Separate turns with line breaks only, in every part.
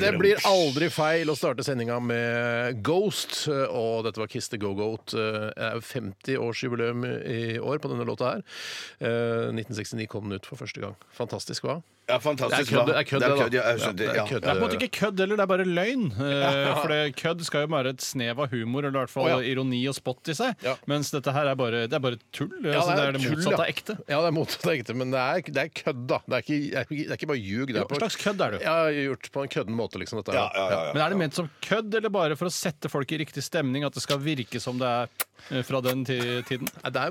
Det blir aldri feil å starte sendinga med Ghost. eh, Og dette var Kiss the Go-Goat. Det er 50-årsjubileum i år på denne låta her. Eh, 1969 kom den ut for første gang. Fantastisk, hva? Det
Ja,
er
fantastisk.
kødd, det,
bra.
er kødd, det, da.
kødd, ja, jeg skjønte,
Ja, det
ja.
er kødd.
Det er på en måte ikke kødd heller, det er bare løgn. Eh, For det kødd skal jo være et snev av humor, eller i hvert fall
Å, ja.
ironi og spott i seg.
Ja.
Mens dette her er bare, det er bare tull. altså, det er det
tull,
motsatte
ja.
av ekte.
Ja, det er motsatt av ekte, men det er, det er kødd, da. Det er ikke, det er ikke- det er ikke bare ljug. Det
Jo,
er på,
slags kødd er det jo.
Ja, gjort på en kødden måte, liksom. Dette, her.
Ja, ja, ja, ja.
Men er det ment som kødd, eller bare for å sette folk i riktig stemning? At det skal virke som det er eh, fra den ti- tiden?
Nei, Det er,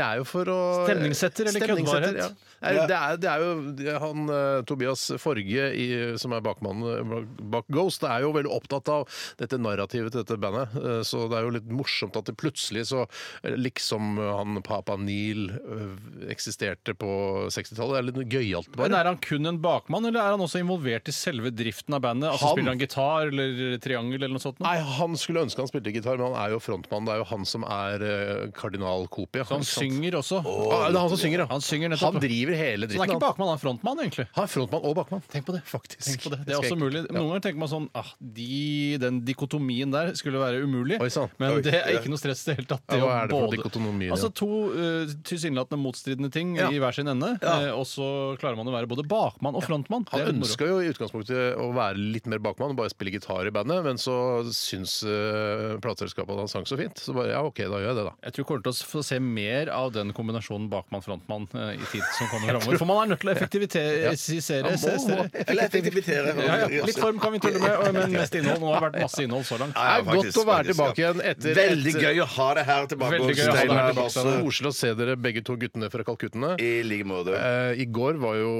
det er jo for å
Stemningssetter eller
Stemningssetter,
køddvarhet?
Ja. Det, er, det, er, det er jo det er han eh, Tobias Forge, i, som er bakmannen eh, bak Ghost, er jo veldig opptatt av dette narrativet til dette bandet. eh, Så det er jo litt morsomt at det plutselig så eh, liksom eh, han Papa Neil eh, eksisterte på 60-tallet. Det er litt gøyalt,
Men
bare.
Er han kun en bakmann, eller er han også involvert i selve driften av bandet? Altså
Han-
Spiller han gitar eller triangel eller noe sånt? Noe?
Nei, Han skulle ønske han spilte gitar, men han er jo frontmann. Det er jo han som er eh, kardinalkopie.
Så han
ikke sant?
synger også?
Ah, det er han som synger, ja.
Han synger nettopp.
Han driver hele
Så han er
dritten.
ikke bakmann, han er frontmann, egentlig.
Han er frontmann og bakmann. Tenk på det. Faktisk.
Tenk på det. det er også mulig. Noen ganger tenker man sånn ah, de, Den dikotomien der skulle være umulig.
Oi, sann.
Men
Oi.
det er ikke noe stress i det hele tatt.
Ja,
det
hva
å
er det for
både-
dikotomi, ja?
Altså To uh, tilsynelatende motstridende ting i hver sin ende, eh, og så klarer man å være både bakmann og frontmann. Det
Han
er litt moro.
ønska jo i utgangspunktet å være litt mer bakmann og bare spille gitar i bandet, men så syns uh, plateselskapet at han sang så fint. Så bare ja, OK, da gjør jeg det, da.
Jeg tror vi kommer til å få se mer av den kombinasjonen bakmann-frontmann eh, i tid som kommer framover. For man er nødt til å eh, effektivisere.
Han må-
Ja,
Eller effektivitere.
ja, ja. Litt form kan vi tulle med, og- men mest innhold. Nå har det vært masse innhold så langt.
Det er godt å være tilbake igjen etter
Veldig gøy å ha deg her tilbake.
Veldig gøy å ha deg her
Steinar
tilbake,
Basse.
Så koselig å se dere begge to guttene fra Kalkuttene.
I like måte.
Eh, I går var jo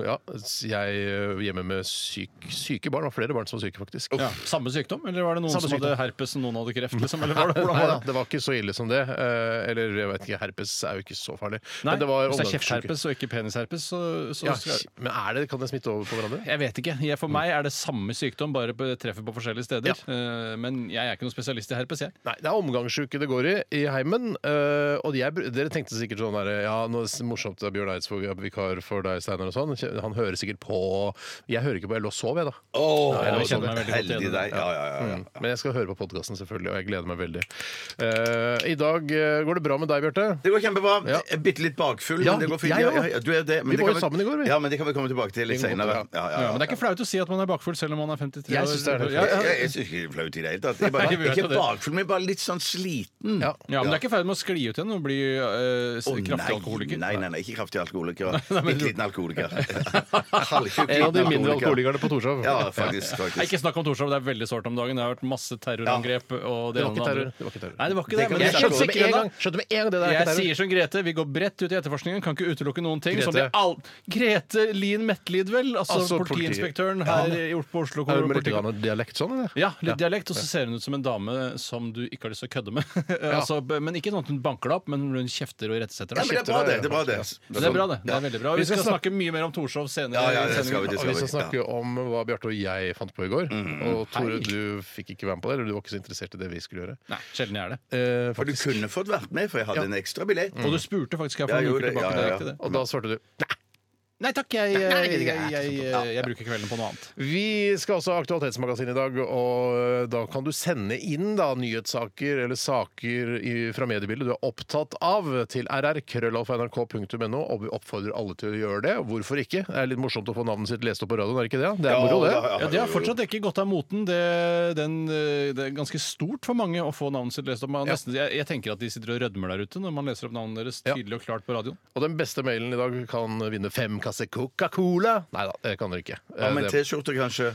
ja, jeg eh, hjemme med syk, syke barn. Det var flere barn som var syke, faktisk.
Ja. Samme sykdom, eller var det noen
Samme
som hadde
sykdom.
herpes og noen hadde kreft? Liksom, eller var det, hvordan
Nei,
var
da,
det?
det var ikke så ille som det. Eh, eller jeg vet ikke, herpes er jo ikke så farlig.
Nei,
men det
hvis
var
det er
omgangssyke.
kjeftherpes og ikke penisherpes, så, så
Ja, Mm.
skal
men er det, kan det smitte over på hverandre?
jeg vet ikke. Jeg, for meg er det samme sykdom, bare på, treffer på forskjellige steder. Eh, Men jeg er ikke noen spesialist i herpes, jeg.
Nei, det er omgangssjuke det går i i heimen. eh, og jeg, br- dere tenkte sikkert sånn der, Ja, nå er det morsomt at Bjørn Eidsvåg er vikar for deg, Steinar, og sånn. Kje- Han hører sikkert på Jeg hører ikke på Jeg lå og sov, jeg, da.
Åh, sånn
jeg kjenner meg veldig godt
heldig
igjen i det.
deg. Ja, ja, ja, ja.
Men jeg skal høre på podkasten, selvfølgelig, og jeg gleder meg veldig. Eh, I dag eh, går det bra med deg, Bjarte.
Det går kjempebra.
Ja.
Jeg er Bitte litt bakfull,
Ja,
men det går fint.
jeg
Ja,
òg.
ja, ja, du er det, men
Vi
det
var
kan
jo sammen i går, vi.
Ja, men det kan vi komme tilbake til litt
Vi må
senere.
godt,
Ja, ja,
Ja,
ja.
men det er ikke flaut å si at man er bakfull selv om man er 53
Jeg synes det er det.
Ja, ja.
Jeg, jeg syns ikke det er flaut i det hele tatt. Jeg
Nei,
bare,
vi vet jo
ikke
det.
bakfull, men bare litt sånn sliten.
Ja.
Mm. ja, men det er ikke i ferd med å skli ut igjen og bli eh, s-
Å,
kraftig alkoholiker.
Nei, nei, nei, ikke kraftig alkoholiker. Litt liten alkoholiker. Halvtjukk
En av de
liten
mindre alkoholikerne på Torshov.
Ja, faktisk.
Nei,
faktisk.
Ikke snakk om Torshov, det er veldig sårt om dagen. Det har vært masse terrorangrep. Og det,
Det
ene
var ikke
og
terror.
andre.
Det var ikke terror.
Nei, det var ikke
Det
det.
kan
Men
vi
jeg
snakke om
skjønte
Skjønte
med
med
en
en
gang.
gang skjønte med en gang det der.
Jeg
ikke terror.
sier som Grete, vi går bredt ut i etterforskningen. Kan ikke utelukke noen ting. Som det
Grete.
all... Grete Lien Mettelid, vel? Altså,
Altså, politiet.
politiinspektøren her i på Oslo
Er hun
kommune.
med litt
politi-
grann dialekt sånn, eller?
Ja, litt dialekt, og så ser hun ut som en dame som du ikke har lyst til å kødde med. altså, b- men ikke sånn at hun banker deg opp, men hun kjefter og irettesetter
Ja, men
deg.
det er bra, Sånn, det. Det er bra, det.
Så det er bra, det. Det er veldig bra. Og Vi
Vi skal
skal snakke mye mer om Torshov senere.
Ja, ja,
i
det skal
sendingen.
vi. Det
Og vi skal
skal vi.
snakke om hva Bjarte og jeg fant på i går. Og Tore,
Hei.
du fikk ikke være med på det, eller du var ikke så interessert i det vi skulle gjøre.
Nei, sjelden jeg er det.
Eh,
For du
faktisk.
kunne fått vært med, for jeg hadde en ekstra billett.
Og du spurte faktisk her
Ja,
for
jeg
noen uker
gjorde det.
tilbake.
Ja,
det
ja,
er ikke det.
og da svarte du nei.
Nei takk, jeg, jeg,
det er
jeg,
greit.
jeg, jeg bruker kvelden på noe annet.
Vi skal også ha Aktualitetsmagasinet i dag, og eh, da kan du sende inn da nyhetssaker eller saker i, fra mediebildet du er opptatt av, til rr.krøllalfa.nrk.no, og vi oppfordrer alle til å gjøre det. Hvorfor ikke? Det er litt morsomt å få navnet sitt lest opp på radioen, er det ikke det? Det er moro, det.
Ja, Det har fortsatt ikke gått av moten. Det, den, eh, det er ganske stort for mange å få navnet sitt lest opp. Man,
Ja.
nesten, jeg, jeg tenker at de sitter og rødmer der ute når man leser opp navnet deres
Ja.
tydelig og klart på radioen.
Og den beste mailen i dag kan vinne fem kasser Coca-Cola. Nei da, det kan dere ikke. Eh,
Ja, men
Det-
T-skjorte, kanskje?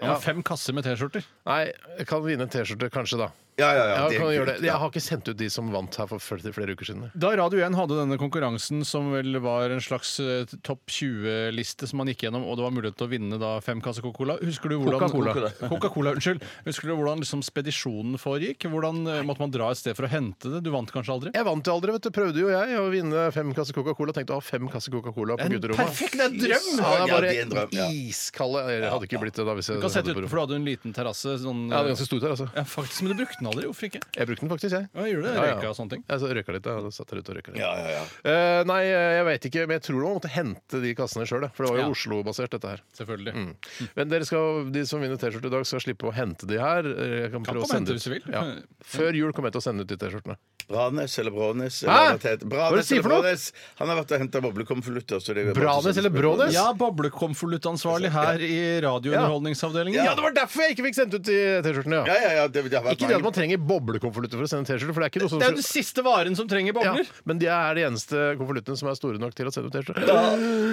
Man har fem kasser med T-skjorter.
Nei, jeg kan vinne en T-skjorte, kanskje, da.
Ja, ja, ja.
Ja,
det er
kan jeg, gjøre
kult,
det.
ja.
jeg har ikke sendt ut de som vant her for flere, flere uker siden.
Da Radio 1 hadde denne konkurransen som vel var en slags eh, topp 20-liste som man gikk gjennom, og det var mulighet til å vinne da fem kasser Coca-Cola Husker du hvordan
Coca-Cola.
Coca-Cola, unnskyld. Husker du hvordan liksom spedisjonen foregikk? Hvordan eh, måtte man dra et sted for å hente det? Du vant kanskje aldri?
Jeg vant jo aldri, vet du. Prøvde jo jeg å vinne fem kasser Coca-Cola. Tenkte å ha fem kasser Coca-Cola på gutterommet.
perfekt, det er en drøm!
Ja, det er
Ja, det er en
bare
drøm, ja.
iskalde Det hadde ikke blitt det da hvis jeg
Du kan
hadde
sette
det på
ut,
rommet.
for du hadde jo en liten terrasse. Sånn,
Ja, det er ganske stort her, altså.
ja, faktisk, men du brukte den aldri. Hvorfor ikke?
Jeg brukte den faktisk, jeg.
Ja, gjorde det,
Ja, ja.
røyka og sånne ting.
Jeg så røyka litt, jeg. Satt der ute og røyka litt.
Ja, ja, ja.
Eh, nei, jeg vet ikke, men jeg tror man måtte hente de kassene sjøl. For det var jo
Ja.
Oslo-basert, dette her.
Selvfølgelig.
Men dere skal, de som vinner T-skjorte i dag, skal slippe å hente de her. Eh, Jeg kan prøve
komme
å sende
og hente
ut.
hvis du vil.
Ja. Før jul kommer jeg til å sende ut de T-skjortene.
Branes eller Brånes.
Hæ?
eller det
Hva er det
heter.
du
Branes
sier for
eller
noe?
Brånes. Han har vært og henta boblekonvolutter. så det er bare
Branes
sånn-
eller Brånes?
Ja, boblekonvoluttansvarlig her i Radiounderholdningsavdelingen.
Ja, det var derfor jeg ikke fikk sendt ut de T-skjortene!
Ja,
Ja.
ja, ja. Det, det har vært
Ikke det at
mange-
man trenger boblekonvolutter for å sende T-skjorter, for det er ikke noe som
Det er jo den siste varen som trenger
ja,
bobler.
Men de er de eneste konvoluttene som er store nok til å sende ut T-skjorter.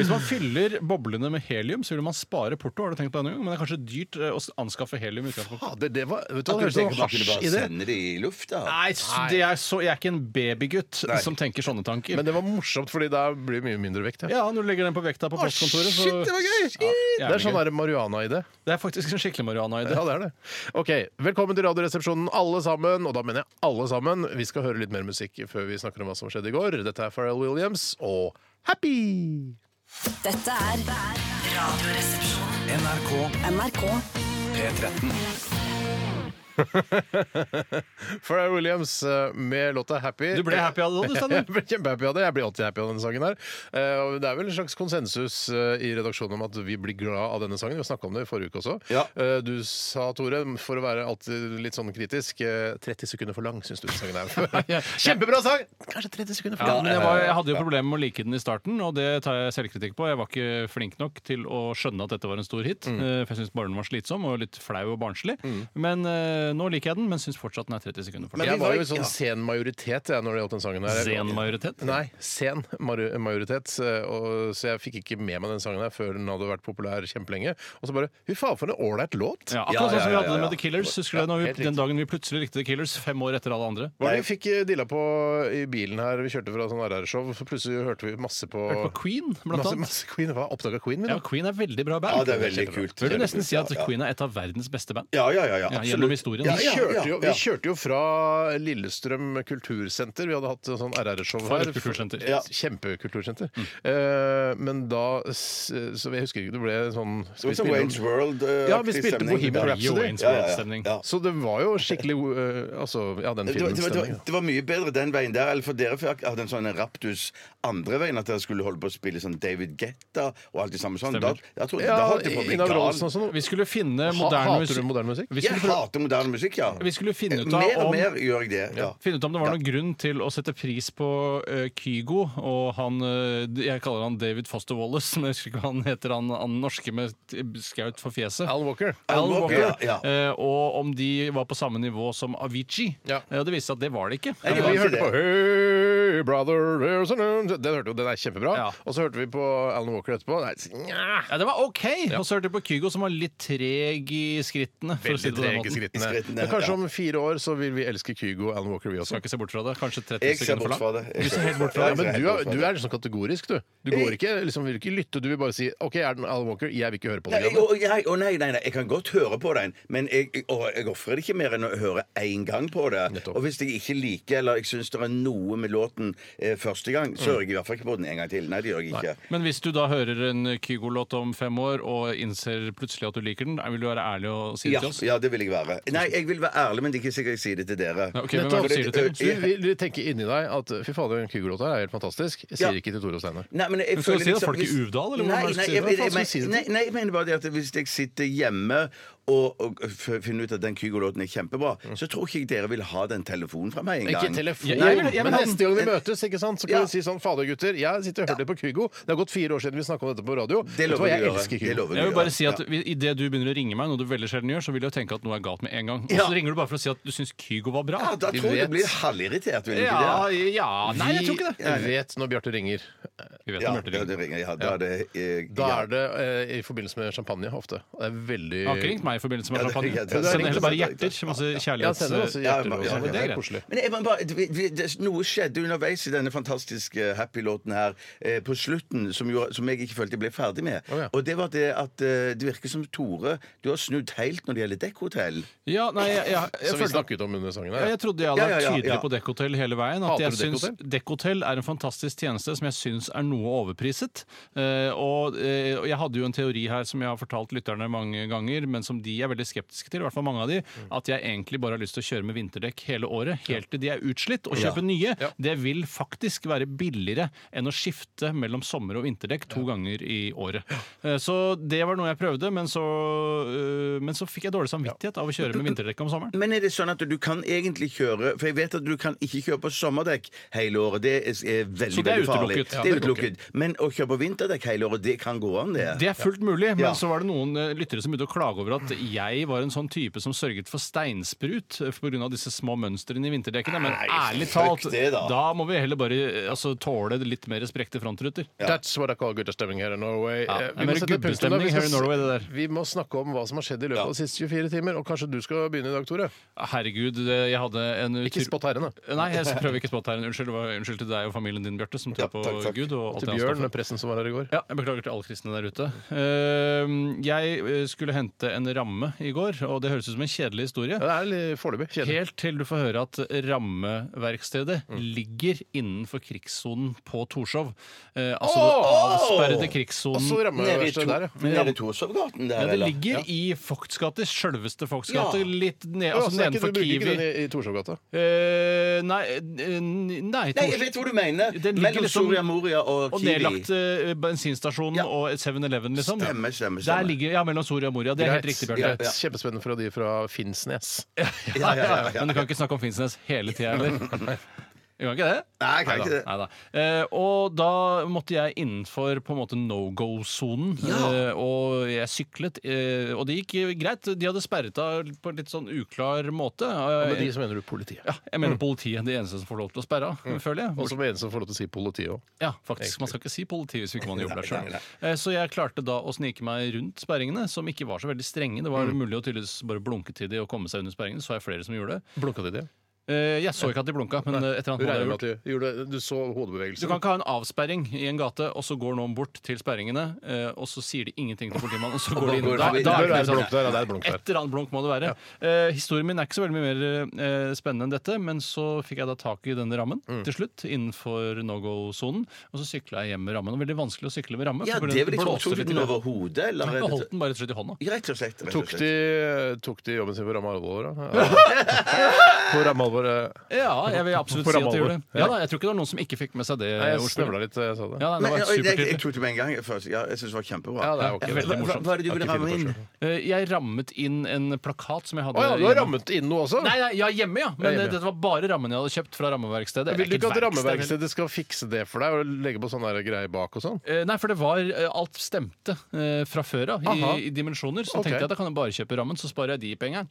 Hvis man fyller boblene med helium, så vil man spare porto. Har du tenkt på det noen gang? Men det er kanskje dyrt eh, å anskaffe helium i utgangspunktet.
Fader, det var Vet du hva, det
Du
høres ut
tenker
som
man kunne
sånn hasj
bare
i det.
sende det i lufta?
Nei, s- det er så, jeg er ikke en babygutt som tenker sånne tanker.
Men det var morsomt, fordi det blir det mye mindre vekt. Ja.
ja, Når du legger den på vekta på postkontoret, så
shit, det var gøy!
Ja,
Det er sånn
jævlig gøy.
der marihuana i det.
det er faktisk en skikkelig marihuana i det.
Ja, det er det. Ok, Velkommen til Radioresepsjonen, alle sammen. Og da mener jeg alle sammen. Vi skal høre litt mer musikk før vi snakker om hva som skjedde i går. Dette er Pharrell Williams og Happy!
Dette er Radioresepsjonen.
NRK
NRK.
P13.
Pharrell Williams eh, med låta Happy.
Du ble happy av det, du, Steinar?
Jeg ble kjempehappy av det. Jeg blir alltid happy av denne sangen her. Eh, og Det er vel en slags konsensus eh, i redaksjonen om at vi blir glad av denne sangen. Vi snakka om det i forrige uke også.
Ja.
Eh, Du sa, Tore, for å være alltid litt sånn kritisk, eh, 30 sekunder for lang, syns du den sangen er. Kjempebra sang! Kanskje 30 sekunder for
Ja,
lang.
men jeg, var, jeg hadde jo problemer med å like den i starten, og det tar jeg selvkritikk på. Jeg var ikke flink nok til å skjønne at dette var en stor hit.
Mm.
eh, For jeg syns bare den var slitsom og litt flau og barnslig. Men eh, nå liker jeg den, men syns fortsatt den er 30 sekunder for
Men
lang.
Jeg var jo i
Mm. Ja.
sånn sen majoritet jeg, når det gjaldt den sangen her.
Sen majoritet.
Nei, sen mari- majoritet. eh, Og, så jeg fikk ikke med meg den sangen her før den hadde vært populær kjempelenge. Og så bare Fy faen, for en ålreit låt!
Ja, akkurat
Ja, ja,
sånn som vi
ja,
hadde
ja,
det
ja.
med The Killers. Husker du det, når
helt
vi,
riktig.
den dagen vi plutselig likte The Killers, fem år etter alle andre?
Hva var det vi fikk eh, dilla på i bilen her? Vi kjørte fra sånn RR-show, så plutselig hørte vi masse på,
Hørte på Queen, blant
masse,
annet.
masse Queen. Hva oppdaga Queen, vi
Ja,
da?
Queen er veldig bra band.
Ja, det er veldig kult.
Vil du nesten si at
Ja, ja.
Queen er et av verdens beste band?
Ja, ja, ja. ja,
Ja,
absolutt.
gjennom historien.
Ja,
Vi
ja,
kjørte, jo,
ja,
vi
ja.
kjørte jo fra Lillestrøm kultursenter. Vi hadde hatt sånn RR-show
For
her.
et kultursenter. Mm.
Ja. Kjempekultursenter. Eh, men da s- Så jeg husker ikke, det ble sånn
Det
skal vi
var sånn
spille-
Wayne's World. eh,
Ja, vi
aktig
spilte
stemning.
Bohemian
Ja,
Rhapsody.
Jo, Wayne's
Ja, ja, ja.
World-stemning.
Ja.
Så det var jo skikkelig eh, Altså, ja, den
Det var,
filmens
det, var, det,
stemning.
var, det var mye bedre den veien der. Eller for dere fikk- hadde en sånn raptus andre veien, at dere skulle holde på å spille sånn David Guetta og alt det samme sånn. Da,
Stemmer.
jeg tror,
Ja,
da holdt jeg på å bli
Einar
gal.
Rolsen og sånn.
Vi skulle finne
Ha-
moderne
Hater du
musikk.
moderne musikk?
Vi
Jeg
skulle, prøve,
hater moderne musikk, ja.
vi skulle finne ut
Mer
av
og
om
mer gjør jeg det. Ja.
Finne ut om det var noen grunn til å sette pris på eh, Kygo og han eh, Jeg kaller han David Foster Wallace, men jeg husker ikke hva han heter, han, han norske med t- skaut for fjeset.
Alan Walker.
Alan
Alan
Walker.
Walker, ja,
Eh, og om de var på samme nivå som Avicii.
Ja.
Eh, og det viste seg at det var det ikke.
Nei,
Vi
det var ikke
hørte på Hey brother, there's a name Den hørte jo, den er kjempebra.
Ja.
Og så hørte vi på Alan Walker etterpå. Nei, nja.
Ja, det var OK! Og så hørte jeg på Kygo, som var litt treg i skrittene. For å si
Veldig
det på den
treg i
måten.
skrittene.
I skrittene,
Men kanskje
ja.
om fire år så vil vi elske Kygo og Alan Walker, vi også.
Skal ikke se bort fra det. Kanskje 30
Jeg ser
sekunder
bort
for
fra
langt.
det. Jeg ser helt bort
Ja, men du er, du er sånn kategorisk, du. Du går ikke, liksom, vil ikke lytte. Du vil bare si OK, er den Alan Walker? Jeg vil ikke høre på
Nei,
det.
jeg- å, jeg- å, nei, nei, nei, jeg kan godt høre på den, men jeg, jeg- å, jeg ofrer det ikke mer enn å høre én gang på det.
Nettopp.
Og hvis jeg ikke liker eller jeg syns det er noe med låten eh, første gang, så hører jeg i hvert fall ikke på den en gang til. Nei, det gjør jeg ikke.
Men hvis du da hører en Kygo-låt om fem år og innser plutselig at du liker den, vil du være ærlig og si det
Ja,
til oss?
ja, det vil jeg være. Nei, jeg vil være ærlig, men det er ikke sikkert jeg sier det til dere.
Ja, ok, hvem er det du sier det til?
Du vil du tenker inni deg at fy fader, den Kygo-låta her er helt fantastisk. Jeg sier
Ja.
ikke til Tore og Steinar.
Nei, men jeg
Men skal du si
føler
det
liksom-
folk i
hvis-
Uvdal, eller hvordan
Nei,
er det du
nei,
sier det?
jeg, jeg,
Hva
faen skal du si
jeg,
det
nei, nei, jeg mener bare det at hvis jeg sitter hjemme og, og f- finner ut at den Kygo-låten er kjempebra, så tror ikke jeg dere vil ha den telefonen fra meg engang.
Ikke telefon,
Jeg- jeg vil- jeg vil
men
ha den.
neste gang vi møtes, ikke sant, så kan
Ja.
vi si sånn Fader, gutter, jeg sitter og hører på Kygo. Det har gått fire år siden vi snakka om dette på radio.
Det
Vet du hva,
lover jeg
jeg
å gjøre.
elsker
Det
Kygo.
lover
Jeg vil
å
bare
gjøre.
si at
Ja.
Idet du begynner å ringe meg, noe du veldig sjelden gjør, så vil jeg tenke at noe er galt med en gang. Og så
Ja.
ringer du bare for å si at du syns Kygo var bra.
Ja, Ah, da
Vi
tror jeg
vet.
du blir halvirritert, vil du ikke
Ja,
det?
ja Nei, jeg tror ikke det.
Vi vet når Bjarte ringer.
Vi vet
Ja,
om
det det
hørteringen.
ringer. Ja, da er det eh,
Da
ja.
er det eh, i forbindelse med champagne ofte. Det er veldig
Du har ikke ringt meg i forbindelse med
Ja, det-
champagne.
ja, det-
Send heller bare
ja, det-
hjerter. Masse
Ja, sender også
kjærlighets...
hjerter
ja,
og
ja,
sånn.
ja,
Det er
ja.
koselig.
Men jeg må bare, vi, vi, det, noe skjedde underveis i denne fantastiske happy-låten her eh, på slutten, som, jo, som jeg ikke følte jeg ble ferdig med.
Å, ja.
Og det var det at eh, det virker som Tore, du har snudd helt når det gjelder dekkhotell.
Ja, nei, jeg, jeg, jeg,
Som vi
følte-
snakket om under sangen
Ja,
her.
jeg trodde jeg hadde
Ja, ja, ja,
vært tydelig
ja.
på Dekkhotell hele veien. At
Hater
jeg
du
syns
Dekkhotell?
Dekkhotell er en fantastisk tjeneste som jeg syns er noe overpriset. Eh, og, eh, og jeg hadde jo en teori her som jeg har fortalt lytterne mange ganger, men som de er veldig skeptiske til, i hvert fall mange av de, at jeg egentlig bare har lyst til å kjøre med vinterdekk hele året, helt til de er utslitt, og kjøpe nye.
Ja.
Det vil faktisk være billigere enn å skifte mellom sommer- og vinterdekk to ganger i året. Eh, så det var noe jeg prøvde, men så, eh, men så fikk jeg dårlig samvittighet av å kjøre med vinterdekk om sommeren.
Men er det sånn at du kan egentlig kjøre For jeg vet at du kan ikke kjøre på sommerdekk hele året. Det er, er veldig,
Så det er
veldig farlig.
utelukket. Ja,
det er
det er utelukket.
utelukket. Men å kjøre på vinterdekk hele året, det kan gå an, det.
Det er fullt mulig, men
Ja.
så var det noen eh, lyttere som begynte å klage over at jeg var en sånn type som sørget for steinsprut eh, pga. disse små mønstrene i vinterdekkene. Men ærlig
fuck
talt,
det da.
må vi heller bare eh, altså, tåle litt mer sprekte frontruter.
That's what I call guttestemning her i Norway.
Ja,
Eh,
det er mer
sette punktum da.
gubbestemning
Vi
her i
skal
Norway, det
se-
der.
Vi må snakke om hva som har skjedd i løpet
Ja.
av de siste 24 timer. Og kanskje du skal begynne i dag, Tore?
Herregud, eh, jeg hadde en
Ikke
tur- Eh,
spott herrene.
Nei, jeg prøver ikke å spotte her. Unnskyld, det var- unnskyld til deg og familien din, Bjarte, som tror
Ja,
på
takk, takk.
Gud. Og alt
Til
det han står for.
Bjørn, pressen som var her i går.
Ja, jeg Beklager til alle kristne der ute. Eh, Jeg eh, skulle hente en ramme i går, og det høres ut som en kjedelig historie.
Ja, det Mm. er litt foreløpig. Kjedelig.
Helt til du får høre at rammeverkstedet ligger innenfor krigssonen på Torshov. Eh, altså den avsperrede krigssonen.
Så
Nede i
Altså rammeverkstedet der, ja.
to- nede i Torshovgaten der,
ja, det
eller?
ligger i Fogts gate, sjølveste Fogts gate.
Ja.
Litt ned,
Ja,
altså
så det er ikke-
nedenfor
du bruker ikke
Kiwi.
den i, i Torshovgata?
Eh, nei, eh, nei,
Nei,
Tors-
jeg vet hvor du mener.
Den ligger
Mellom
liksom-
Soria Moria og
Og
Kiwi.
nedlagt eh, bensinstasjonen
Ja.
og 7-Eleven, liksom.
Stemmer, stemmer, stemmer.
Der ligger, ja, mellom Soria og Moria. Det er helt riktig, Bjarte.
Greit. Kjempespennende for de fra Finnsnes.
Ja, ja, ja, ja.
Men du kan ikke snakke om Finnsnes hele tida heller. Du kan ikke det?
Nei, jeg kan
Neida,
ikke det.
neida. Eh, og da måtte jeg innenfor på en måte no go-sonen. Eh, og jeg syklet, eh, og det gikk eh, greit. De hadde sperret av på en litt sånn uklar måte. Eh,
Med de så mener du politiet.
ja, jeg mener politiet. De eneste som får lov til å sperre av,
Mm.
føler jeg.
Og som er eneste som får lov til å si politiet òg.
Ja, faktisk. Man skal ikke si politi hvis ikke man jobber der sjøl. Så jeg klarte da å snike meg rundt sperringene, som ikke var så veldig strenge. Det
Mm.
var mulig å tydeligvis bare blunke til de og komme seg under sperringene. Så jeg flere som gjorde det.
Blunka de det?
Eh, Jeg så ikke at de blunka, men eh, et eller
Du
annet hadde
regner
jeg
med
gjort.
at du gjorde Du så hodebevegelsen?
Du kan ikke ha en avsperring i en gate, og så går noen bort til sperringene, eh, og så sier de ingenting til politimannen, og så går de inn.
Går
Da, da,
forbi.
er det
Der er
ikke
det blunk
sant.
der, ja, det er blunk
Et
der.
eller annet blunk må det være. Eh, historien min er ikke så veldig mye mer eh, spennende enn dette, men så fikk jeg da tak i denne rammen til slutt, innenfor no go-sonen, og så sykla jeg hjem med rammen. Det var veldig vanskelig å sykle med ramme.
Ja,
for
det er
den
vel liksom ikke
blåste
Tok
litt
du
i
den
det.
over hodet, eller?
Jeg holdt den bare rett og slett i hånda.
Ja, Rett og slett. Rett og
Tok
slett.
de, tok de jobben sin på ramme alvor, da? På ramme alvor eh,
Ja, jeg vil absolutt
For
si at
ramme
jeg gjorde
over.
det. Ja da, jeg tror ikke det var noen som ikke fikk med seg det.
Nei, jeg
ordspillet.
snøvla litt da jeg sa det.
Ja, det
Men,
var
jeg, jeg,
supertydelig.
jeg tok det med en gang. Jeg, følte- ja, jeg syns det var kjempebra.
Ja, det er ok.
Hva-
Veldig
hva,
morsomt.
hva er det du ville
Har ikke
ramme
tid
inn?
til å
Eh, Jeg rammet inn en plakat som jeg hadde
Å ja, du har
hjemme.
rammet inn noe også?
Nei, nei, ja, hjemme, ja. Men
Ja, hjemme,
eh,
ja.
dette var bare rammen jeg hadde kjøpt fra rammeverkstedet.
Vil du
Det er
ikke at
et verksted, eller?
rammeverkstedet skal fikse det for deg? Og legge på sånne der greier bak og sånn?
Eh, Nei, for det var eh, alt stemte eh, fra før av i,
Aha.
i dimensjoner. Så
Ok.
tenkte jeg at da kan jeg bare kjøpe rammen, så sparer jeg de penga.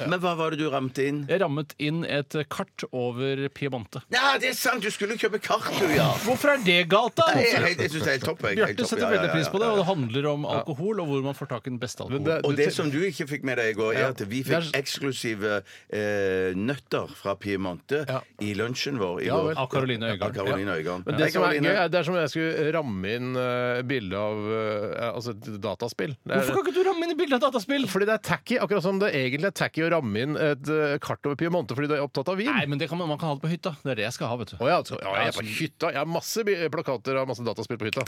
Men hva var det du ramte inn?
Jeg rammet inn et eh, kart over Piemonte.
Ja, det er sant! Du skulle kjøpe kart, du, ja!
Hvorfor er det galt, da?
Nei, Jeg, jeg, jeg syns det er helt topp. jeg. Helt
Bjarte
topp,
setter
ja, ja,
veldig
ja,
pris på det,
ja,
og
ja.
det handler om alkohol og hvor man får tak i den beste
Men
alkoholen.
Og
du
det
tenk-
som du ikke fikk med deg i går, er at vi fikk
Det er-
eksklusive eh, nøtter fra Piemonte
Ja.
i lunsjen vår i
Ja,
går.
vel.
Av Caroline Øygarden.
Av Caroline Øygarden.
Men
Hei,
det som er
Caroline.
gøy, er det er som om jeg skulle ramme inn eh, bilde av eh, altså et dataspill. Det er,
Hvorfor kan ikke du ramme inn et bilde av et dataspill?
fordi det er tacky, akkurat som det egentlig er tacky å ramme inn et eh, kart over Piemonte fordi du er opptatt av vin.
Nei, altså- men det kan man, man kan ha det på hytta. Det er det jeg skal ha, vet du.
Å ja, så, ja, jeg er på hytta. Jeg har masse bi- plakater av masse dataspill på hytta.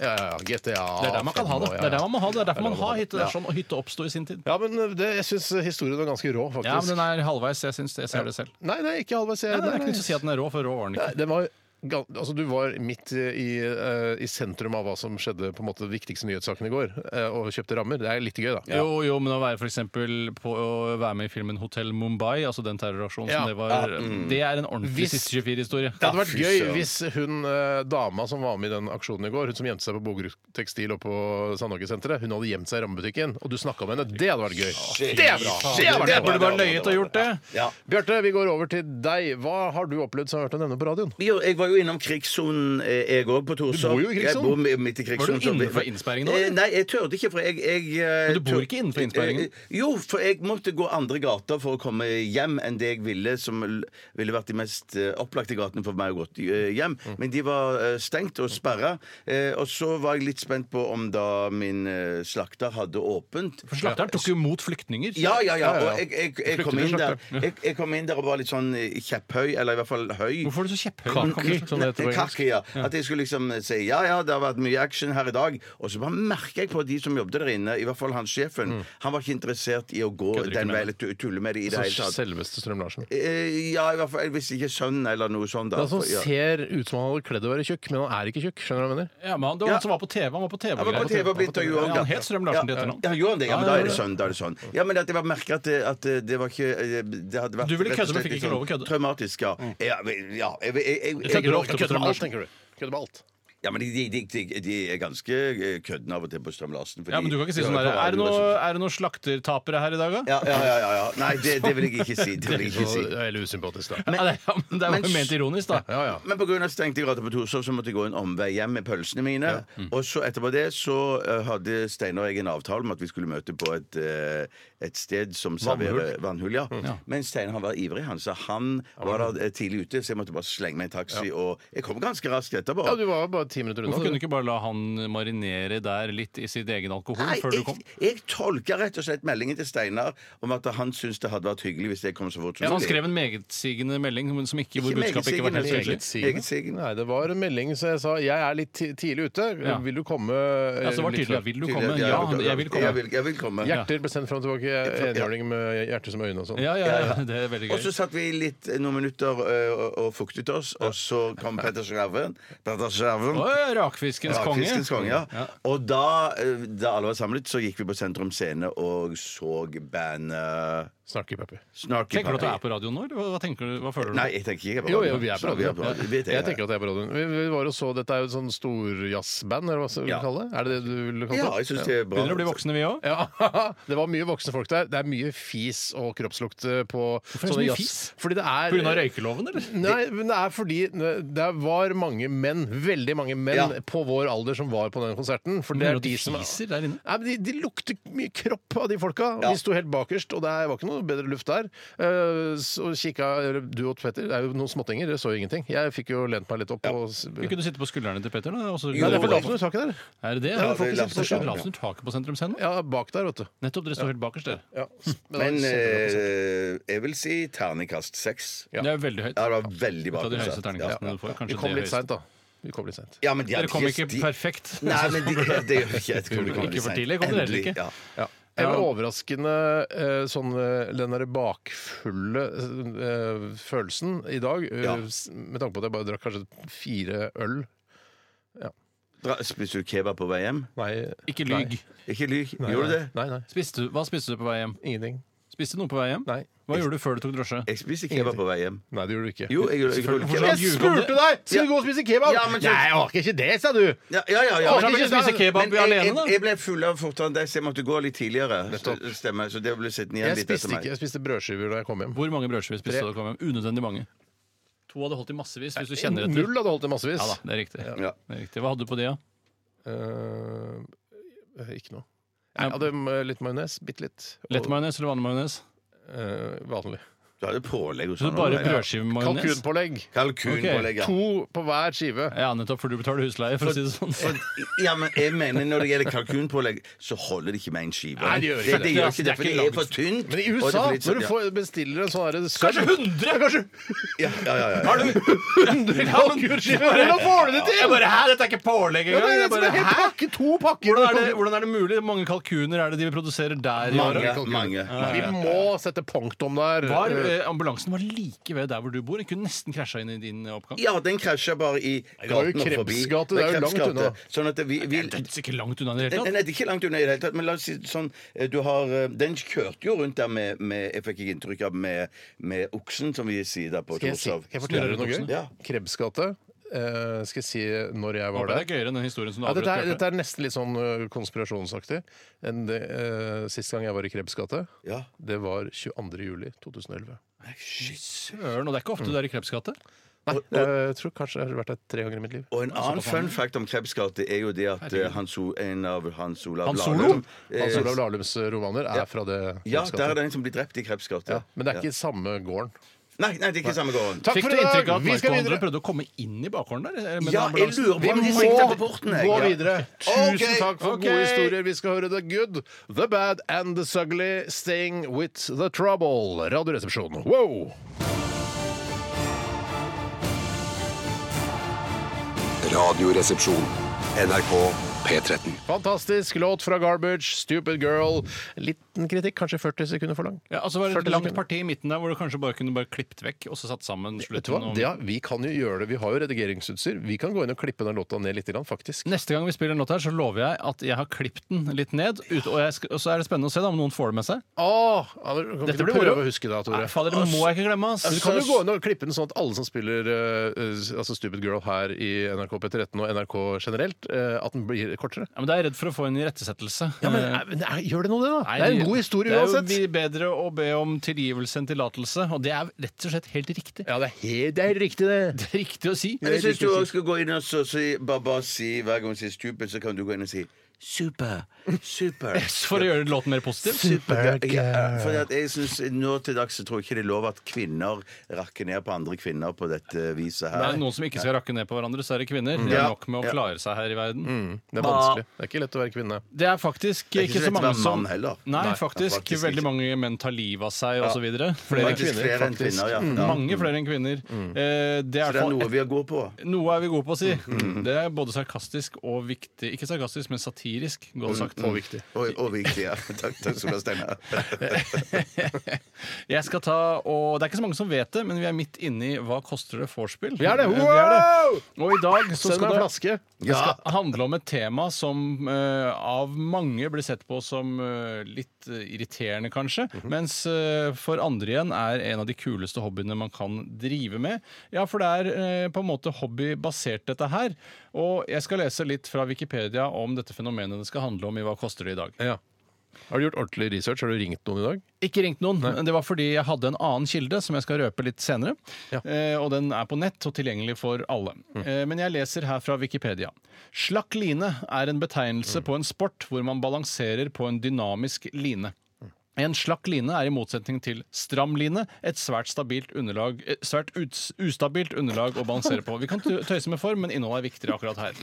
Ja, ja, ja, GTA
Det er der man kan ha det.
fem og- ja,
Det er der man må ha det. Det er derfor
Det er der
man
man
har
har det.
hytte. Det er sånn hytte oppsto i sin tid.
Ja, men eh, det, jeg syns historien er ganske rå, faktisk.
Ja, men den er halvveis. Jeg syns det. Jeg ser det selv.
Nei, nei, ikke halvveis.
Nei,
Jeg,
nei, det er ikke
nei.
noe å si at den er rå, for rå var den ikke.
Nei, det var gan- Altså, du var midt i, eh, i sentrum av hva som skjedde på en måte de viktigste nyhetssakene i går, eh, og kjøpte rammer. Det er litt gøy, da.
Jo, jo, men å være for eksempel på å være med i filmen Hotell Mumbai, altså den terroraksjonen
Ja.
som det var, eh, det er en ordentlig
Hvis-
siste 24-historie.
Det hadde vært
Ah, fy
gøy
søren.
hvis hun eh, dama som var med i den aksjonen i går, hun som gjemte seg på Bogerud Tekstil og på Sandhagesenteret, hun hadde gjemt seg i rammebutikken, og du snakka med henne. Det hadde vært gøy.
Ah,
Det er bra! Det
Det
hadde
burde
vært bra.
du bare løyet og gjort det.
Ja.
Bjarte, vi går over til deg. Hva har du opplevd som har vært å nevne på radioen?
Jo, Jeg var var jo innom krigssonen, eh, jeg òg, på Torshov.
bor jo i krigssonen.
Jeg bor mi- midt i krigssonen. så-
innenfor innsperringen nå, eller?
Eh, Nei, jeg turde ikke, for jeg, jeg eh,
Men du bor
tur-
ikke innenfor innsperringen?
Eh, eh, Jo, for jeg måtte gå andre gater for å komme hjem enn det jeg ville, som l- ville vært de mest eh, opplagte gatene for meg å gå til, eh, hjem.
Mm.
Men de var eh, stengt og sperra. Eh, Og så var jeg litt spent på om da min eh, slakter hadde åpent.
For Slakteren tok jo imot flyktninger.
Ja, ja, ja.
ja, ja.
Og jeg, jeg, jeg, kom
Flykter
inn
til
der,
slakter.
jeg, jeg kom inn der og var litt sånn eh, kjepphøy, eller i hvert fall høy.
Hvorfor er du så kjepphøy? Kaker, som det heter på engelsk.
Kaki, ja. At jeg skulle liksom si ja, ja, det har vært mye action her i dag. Og så bare merker jeg på de som jobbet der inne, i hvert fall han sjefen, han var ikke interessert i å gå
Mm. Kødder ikke
den
med Altså,
veien, eller tu- tulle med det i det hele tatt.
Selveste Strøm-Larsen.
Eh, Ja, i hvert fall hvis ikke sønnen eller noe sånt.
Det
Da.
er sånn
For- ja.
ser ut som han hadde kledd å være tjukk, men han er ikke tjukk. Skjønner du hva jeg mener?
Ja, men han, det var han som var på TV. Han var på TV,
Han var på TV og ble intervjua.
Ja, han het Strøm-Larsen til etternavn.
Ja, gjorde han det? Ja, men
Ja,
da
ja,
er det
ja.
sånn. Da er det sånn. Ja, men at jeg bare merker at, det- at det var ikke eh, Det hadde vært
Du ville
rett og
kødde, men
slett
fikk
litt
ikke
sånn
lov å kødde.
Traumatisk, ja. Ja, men- ja. Jeg, jeg, jeg, jeg, sånn.
tenker ofte på
Kødder med
Strøm-Larsen.
alt, tenker du. Kødder med alt.
Ja, men de, de, de, de, de er ganske eh, kødden av og til på Strøm Larsen. fordi
Ja, men du kan ikke si
de
sånn der.
hører på
Er det
radio og
noen
sånt.
er det noen slaktertapere her i dag, da?
Ja, ja, ja, ja, ja. Nei, det, det vil jeg ikke si. Det vil jeg ikke si.
Det er Veldig usympatisk, da.
Ja, det, ja, men det
men-
var jo ment ironisk, da.
Ja, ja.
Men pga. stengte grader på Torshov så måtte jeg gå en omvei hjem med pølsene mine.
Mm.
Og så etterpå det så eh, hadde Steinar og jeg en avtale om at vi skulle møte på et, eh, et sted som serverer vannhull. ja.
Mm.
Men Steinar han var ivrig. Han sa han var da eh, tidlig ute, så jeg måtte bare slenge meg i en taxi. Og jeg kom ganske raskt etterpå.
Ja, du var jo bare ti minutter unna.
Hvorfor kunne
du.
du ikke bare la han marinere der litt i sin egen alkohol
Nei,
før du kom?
jeg, jeg tolka rett og slett meldingen til Steinar om at han syntes det hadde vært hyggelig hvis jeg kom så fort som
Ja, han skrev en megetsigende melding men som ikke, hvor
Ikke
budskapet ikke var helt
megetsigende,
tydelig.
Eget sigende? Eget sigende.
Nei, det var en melding som jeg sa jeg er litt ti- tidlig ute.
Ja.
Vil du komme eh,
Ja, så det var
litt
tydelig.
før?»
Vil du
Tydelig,
komme?
ja,
Ja, han- jeg vil komme.
Jeg vil, jeg vil komme.
Hjerter ble sendt fram og tilbake. Enhjørning med hjerte som øyne og sånn.
Ja, ja, ja, det er veldig gøy.
Og så satt vi litt eh, noen minutter ø, og, og fuktet oss, og så kom Petter Skjerven. Petter Skjerven.
Å, Rakfiskens
Ja,
konge.
Fiskens konge, ja. Og da, ø, da alle var samlet, så gikk vi på Sentrum Scene og så bandet
Snakker Pepper.
Snarky
Tenker du at du
Puppy.
er på radio nå, eller hva- hva, tenker du, hva føler du?
Nei, jeg tenker ikke jeg er på
Jo,
radio.
jo, vi er på radio.
radio. Vet jeg,
Sånn, Jeg tenker at jeg er på radioen. Vi, vi var og så, Dette er jo et sånn storjazzband, eller hva skal vi
Ja.
kalle det? Er det det du ville kalle det?
Ja, jeg syns det er bra.
Begynner å bli voksne, vi òg.
Ja, Det var mye voksne folk der. Det er mye fis og kroppslukt eh, på
er det så
sånne
mye
jazz-
fis?
Fordi det er
Pga. røykeloven, eller?
Nei, men det er fordi eh, det var mange menn, veldig mange menn
Ja.
på vår alder som var på den konserten. For det
Mener du at
er de
de
som
fiser der inne?
Nei, men de, de lukter mye kropp av de folka. og
Ja.
De sto helt bakerst, og det var ikke noe bedre luft der. Eh, Så kikka du og Petter, det er jo noen småttinger, dere så jo ingenting. Jeg fikk jo lent meg litt opp og s-
Kunne ikke du sitte på skuldrene til Petter? Da? og så-
Nei, det er for lavt under taket der.
Er det det?
Ja,
Ja, Folk
det er
sitter på
lavt under
skuldrene taket på Sentrum Scene? nå?
Ja, bak der, vet du.
Nettopp, dere står helt bakerst der.
Ja.
Mm.
det var kjempebra
Men
eh,
konsert.
ø, jeg vil si terningkast seks.
Ja.
Det er veldig høyt.
Ja, det var veldig bra.
Ta de høyeste
konsert. Ja.
terningkastene du får.
Vi
Kanskje
kom
det
litt
høyeste.
seint, da. Vi kom litt sent.
Ja, men de
Dere
hadde
kom ikke
de-
perfekt.
Nei, men de, det gjør ikke jeg. Det kommer- det kommer
Ikke for
sent.
tidlig kom dere heller
Endelig,
ikke.
ja.
Ja.
Ja.
Eller overraskende eh, sånn eh, den derre bakfulle eh, følelsen i dag, eh,
Ja.
s- med tanke på at jeg bare drakk kanskje fire øl.
Dra- Spiste du kebab på vei hjem?
Nei.
Ikke lyg.
Ikke lyv. Gjorde du det?
Nei, nei.
Spiste du, hva spiste du på vei hjem?
Ingenting.
Spiste du noe på vei hjem?
Nei.
Hva gjorde du før du tok drosje?
Jeg spiste kebab på vei hjem.
Nei, det gjorde du ikke.
Jo, jeg gjorde jeg gjorde
Selvfølgelig.
kebab.
Jeg spurte deg! Skal du gå og spise kebab?
Ja, men så-
Nei, jeg orker ikke det, sa du!
Ja, ja, ja, ja.
Å, så
Men
vil jeg spise
jeg,
kebab alene, da?
jeg, jeg ble full av fortere enn deg, så jeg måtte gå litt tidligere. S- Stemmer, så det ble sittende igjen
Jeg
litt etter
spiste,
meg.
ikke, jeg spiste brødskiver da jeg kom hjem.
Hvor mange brødskiver spiste du da du kom hjem? Unødvendig mange. To hadde holdt i massevis, hvis du kjenner etter.
Null hadde holdt i massevis.
Ja da, det er riktig.
Ja.
Det er riktig. Hva hadde du på de, da?
Eh, ikke noe. Jeg hadde eh, litt majones, bitte litt. og,
Lett majones eller vanlig majones?
eh, vanlig.
Du hadde pålegg og
Så
sånn.
det er bare
ja.
brødskive med majones?
Kalkunpålegg.
Kalkunpålegg, ja.
To på hver skive.
Ja, nettopp, for du betaler husleie, for å si det sånn.
For- Ja, men jeg mener Når det gjelder kalkunpålegg, så holder det ikke med en skive.
Nei, det gjør ikke
det,
det.
det, gjør ikke
Det
det,
er
for
ikke
det er
langt.
for tynt.
Men i
og det
USA,
er for litt sånn-
når du får bestiller en sånn herre
Kanskje 100!
Ja, kanskje
Ja, ja, ja, ja, ja.
Har du
Hvordan får du det til?!
Jeg bare, Hæ, dette er ikke pålegg engang!
Ja, det er
Jeg
liksom
bare,
en hel
hæ?
pakke, to pakker!
Hvordan er, det, hvordan er det mulig? Hvor mange kalkuner er det de produserer der i året?
Mange. mange.
Vi må sette punktum der.
Var,
Eh,
eh, ambulansen var like ved der hvor du bor. Den kunne nesten krasja inn i din eh, oppgang.
Ja, den krasja bare i
var jo
gaten og forbi.
Krebsgate, det er jo langt
Krebsgate.
unna.
Sånn at vi, vi,
Det er ikke langt unna i det
Nei,
hele
nei,
tatt.
det er ikke langt unna i det hele tatt. Men la oss si sånn eh, du har, eh, Den kjørte jo rundt der med, med Jeg fikk ikke inntrykk av med, med oksen, som vi sier der på
Skal jeg, si,
Torshov.
skal jeg fortelle
Snurrer
dere noe gøy?
buksene.
Ja.
Krebs gate. Eh, skal jeg si når jeg var
Håper Det
der?
er gøyere enn den historien som du
Ja, dette, er,
avbrøt.
dette er nesten litt sånn eh, konspirasjonsaktig enn det eh, sist gang jeg var i Krebs gate.
Ja.
Det var 22. juli 2011.
Bjarte. Søren, og det er ikke ofte du er i Krebsgate.
Nei, eh, jeg tror kanskje jeg har vært der tre ganger i mitt liv.
Og en annen fun fact om Krebsgate er jo det at eh, Hans, O- en av Hans Olav
Hans
Lahlum
Olav?
eh,
Hans Altså, Olav Lahlums romaner er fra det
Ja,
Krebsgata.
der er det en som blir drept i Krebsgate.
Ja, Men det er ikke samme gården.
Nei, nei, det er ikke samme gården.
Takk
Fikk
for
du
i dag!
inntrykk av at
Vi skal
Marco og andre
videre.
prøvde å komme inn i bakgården der? eh, med
Ja,
den
jeg
ambulansen?
lurer
Vi
på om de
må
sikter på porten. jeg.
gå
Ja.
videre. Tusen
Ok,
takk for
ok.
gode historier. Vi skal høre The Good, The Bad and The Sugly, Staying With The Trouble. Radioresepsjonen. Wow!
Radioresepsjon. NRK P13.
Fantastisk låt fra Garbage, Stupid Girl. Liten kritikk, kanskje 40 sekunder for lang.
Ja, altså det var
40
et langt
sekunder.
parti i midten der hvor du kanskje bare kunne bare klippet vekk og så satt sammen
Vet du hva?
slutten. og-
Det, er- vi kan jo gjøre det. Vi har jo redigeringsutstyr. Vi kan gå inn og klippe den låta ned litt, grann, faktisk.
Neste gang vi spiller en låt her, så lover jeg at jeg har klippet den litt ned. Ut, og, jeg skal, og så er det spennende å se da, om noen får det med seg.
Åh, ja, men kan
Dette
ikke du
blir
prøve
moro.
å huske det,
Nei,
Tore?
fader, det må jeg ikke glemme, ass.
Ja, Du kan jo gå inn og klippe den sånn at alle som spiller eh, eh, altså Stupid Girl her i NRK P13 og NRK generelt, eh, at den blir kortere.
Ja, men da er jeg redd for å få en irettesettelse.
Ja, men,
Eh,
eh, men, eh, Gjør det noe, det, da?
nei,
Det er en god historie uansett.
Det er jo mye bedre å be om tilgivelse enn tillatelse, og det er rett og slett helt riktig.
Ja, det er, helt, det er riktig, det.
Det er riktig å si.
Men jeg syns du også skal gå inn og så, si, bare, bare si hver gang hun sier 'stupid', så kan du gå inn og si 'super'. Super.
For å gjøre låten mer positiv.
Super. Ja, fordi at jeg synes, Nå til dags så tror jeg ikke det er lov at kvinner rakker ned på andre kvinner på dette viset
Det er
her.
noen som ikke skal rakke ned på hverandre, så er det kvinner.
Mm.
Det er
Ja.
nok med å
Ja.
klare seg her i verden.
Det er vanskelig. Det er ikke lett å være kvinne.
Det er faktisk
Det er ikke
ikke,
så
så
lett å
mange
være
som
mann heller.
Nei,
Nei,
faktisk,
faktisk
veldig
ikke.
mange menn tar livet av seg osv. Flere
Faktisk
kvinner,
flere enn
faktisk.
kvinner, ja. ja.
Mange flere enn kvinner. Eh, det
Så
er,
det er
noe,
noe vi går på.
noe er vi gode på å si. Det er både sarkastisk og viktig. Ikke sarkastisk, men satirisk, godt sagt.
Og viktig.
Og, og viktig, ja. Takk, takk skal du ha, Steinar.
Jeg skal ta, og Det er ikke så mange som vet det, men vi er midt inni Hva koster det vorspiel?
Vi er det!
Eh, vi er det.
Wow!
Og i dag så
Send meg
skal
en
det
flaske.
Det skal handle om et tema som eh, av mange blir sett på som eh, litt eh, irriterende, kanskje. Mens eh, for andre igjen er en av de kuleste hobbyene man kan drive med. Ja, for det er eh, på en måte hobbybasert, dette her. Og jeg skal lese litt fra Wikipedia om dette fenomenet det skal handle om i Hva koster det i dag.
Ja. Har du gjort ordentlig research? Har du ringt noen i dag?
Ikke ringt noen. men Det var fordi jeg hadde en annen kilde som jeg skal røpe litt senere.
Ja.
Eh, og den er på nett og tilgjengelig for alle. Eh, men jeg leser her fra Wikipedia. Slakk line er en betegnelse på en sport hvor man balanserer på en dynamisk line. En slakk line er i motsetning til stram line et svært, stabilt underlag, eh, svært uts- ustabilt underlag å balansere på. Vi kan tø- tøyse med form, men innholdet er viktigere akkurat her.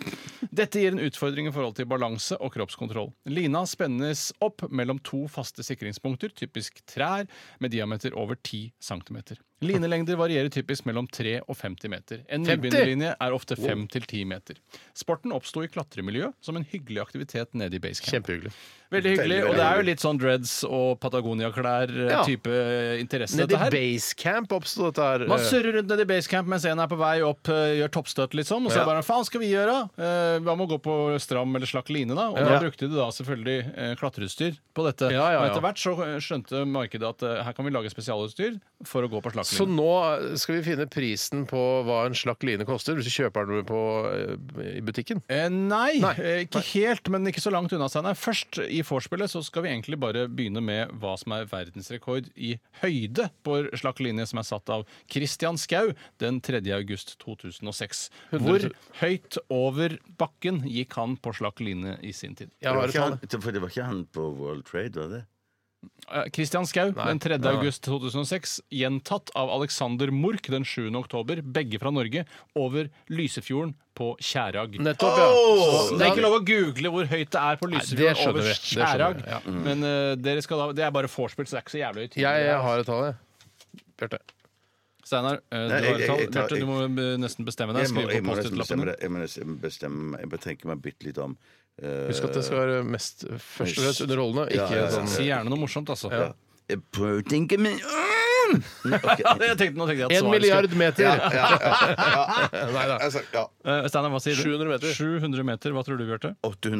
Dette gir en utfordring i forhold til balanse og kroppskontroll. Lina spennes opp mellom to faste sikringspunkter, typisk trær, med diameter over 10 cm. Linelengder varierer typisk mellom 3 og 50 meter. En
50?
nybegynnerlinje er ofte 5-10 meter. Sporten oppsto i klatremiljø som en hyggelig aktivitet nede i basecamp.
Kjempehyggelig.
Veldig hyggelig.
Veldig,
Og
veldig
det er jo litt sånn dreads og
Ja.
Patagonia-klær-type interesse,
Nedi
dette her.
Basecamp oppsto dette her. eh,
Man surrer rundt nedi basecamp mens en er på vei opp, eh, gjør toppstøt, liksom. Og så
Ja.
er det bare faen skal vi gjøre? Eh, Hva med å gå på stram eller slakk line, da? Og
Ja.
da brukte de da selvfølgelig eh, klatreutstyr på dette.
Ja, ja,
Og
ja.
etter hvert så eh, skjønte markedet at eh, her kan vi lage spesialutstyr for å gå på slakk
Så
line.
nå skal vi finne prisen på hva en slakk line koster, hvis du kjøper den på, eh, i butikken.
Eh, nei,
Nei.
eh, ikke helt, men ikke så langt unna. Steinar. Først i vorspielet så skal vi egentlig bare begynne med hva som er verdensrekord i høyde på slakk linje, som er satt av Christian Skau den 3. august 2006. Hvor høyt over bakken gikk han på slakk linje i sin tid?
Jeg har et
Det var
tall.
ikke han- For det var ikke han på World Trade, var det?
Eh, Christian Skau den 3.
Nei.
august 2006, gjentatt av Alexander Mork den 7. oktober, begge fra Norge, over Lysefjorden på Kjærag.
Nettopp, ja.
Så Det er ikke lov å google hvor høyt det er på
Nei, det
Lysefjorden
skjønner
over
vi. Det skjønner
Skjærag.
vi, ja.
Men eh, dere skal da, det er bare vorspiel, så det er ikke så jævlig høyt.
Jeg, jeg har et tall, jeg. Bjarte.
Steinar, eh, du
Nei,
har
jeg-
et tall.
jeg- jeg tar-
Bjarte, du må eh, nesten bestemme deg.
Jeg må,
Skriv
jeg
på
må nesten bestemme
Post-It-lappen.
det. Jeg må nesten bestemme meg. Jeg bør tenke meg bitte litt om. eh,
Husk at det skal være mest først og fremst underholdende,
Ja, ja,
ikke
ja.
sånn
Si gjerne noe morsomt, altså. Ja.
Jeg prøver å tenke meg om. Ok.
jeg tenkte, nå tenkte jeg at
En
svaret
milliard meter!
Ja, ja, ja. Altså, ja.
skulle- Eh, Steinar, hva sier du?
700 meter.
700 meter. Hva tror du, Bjarte?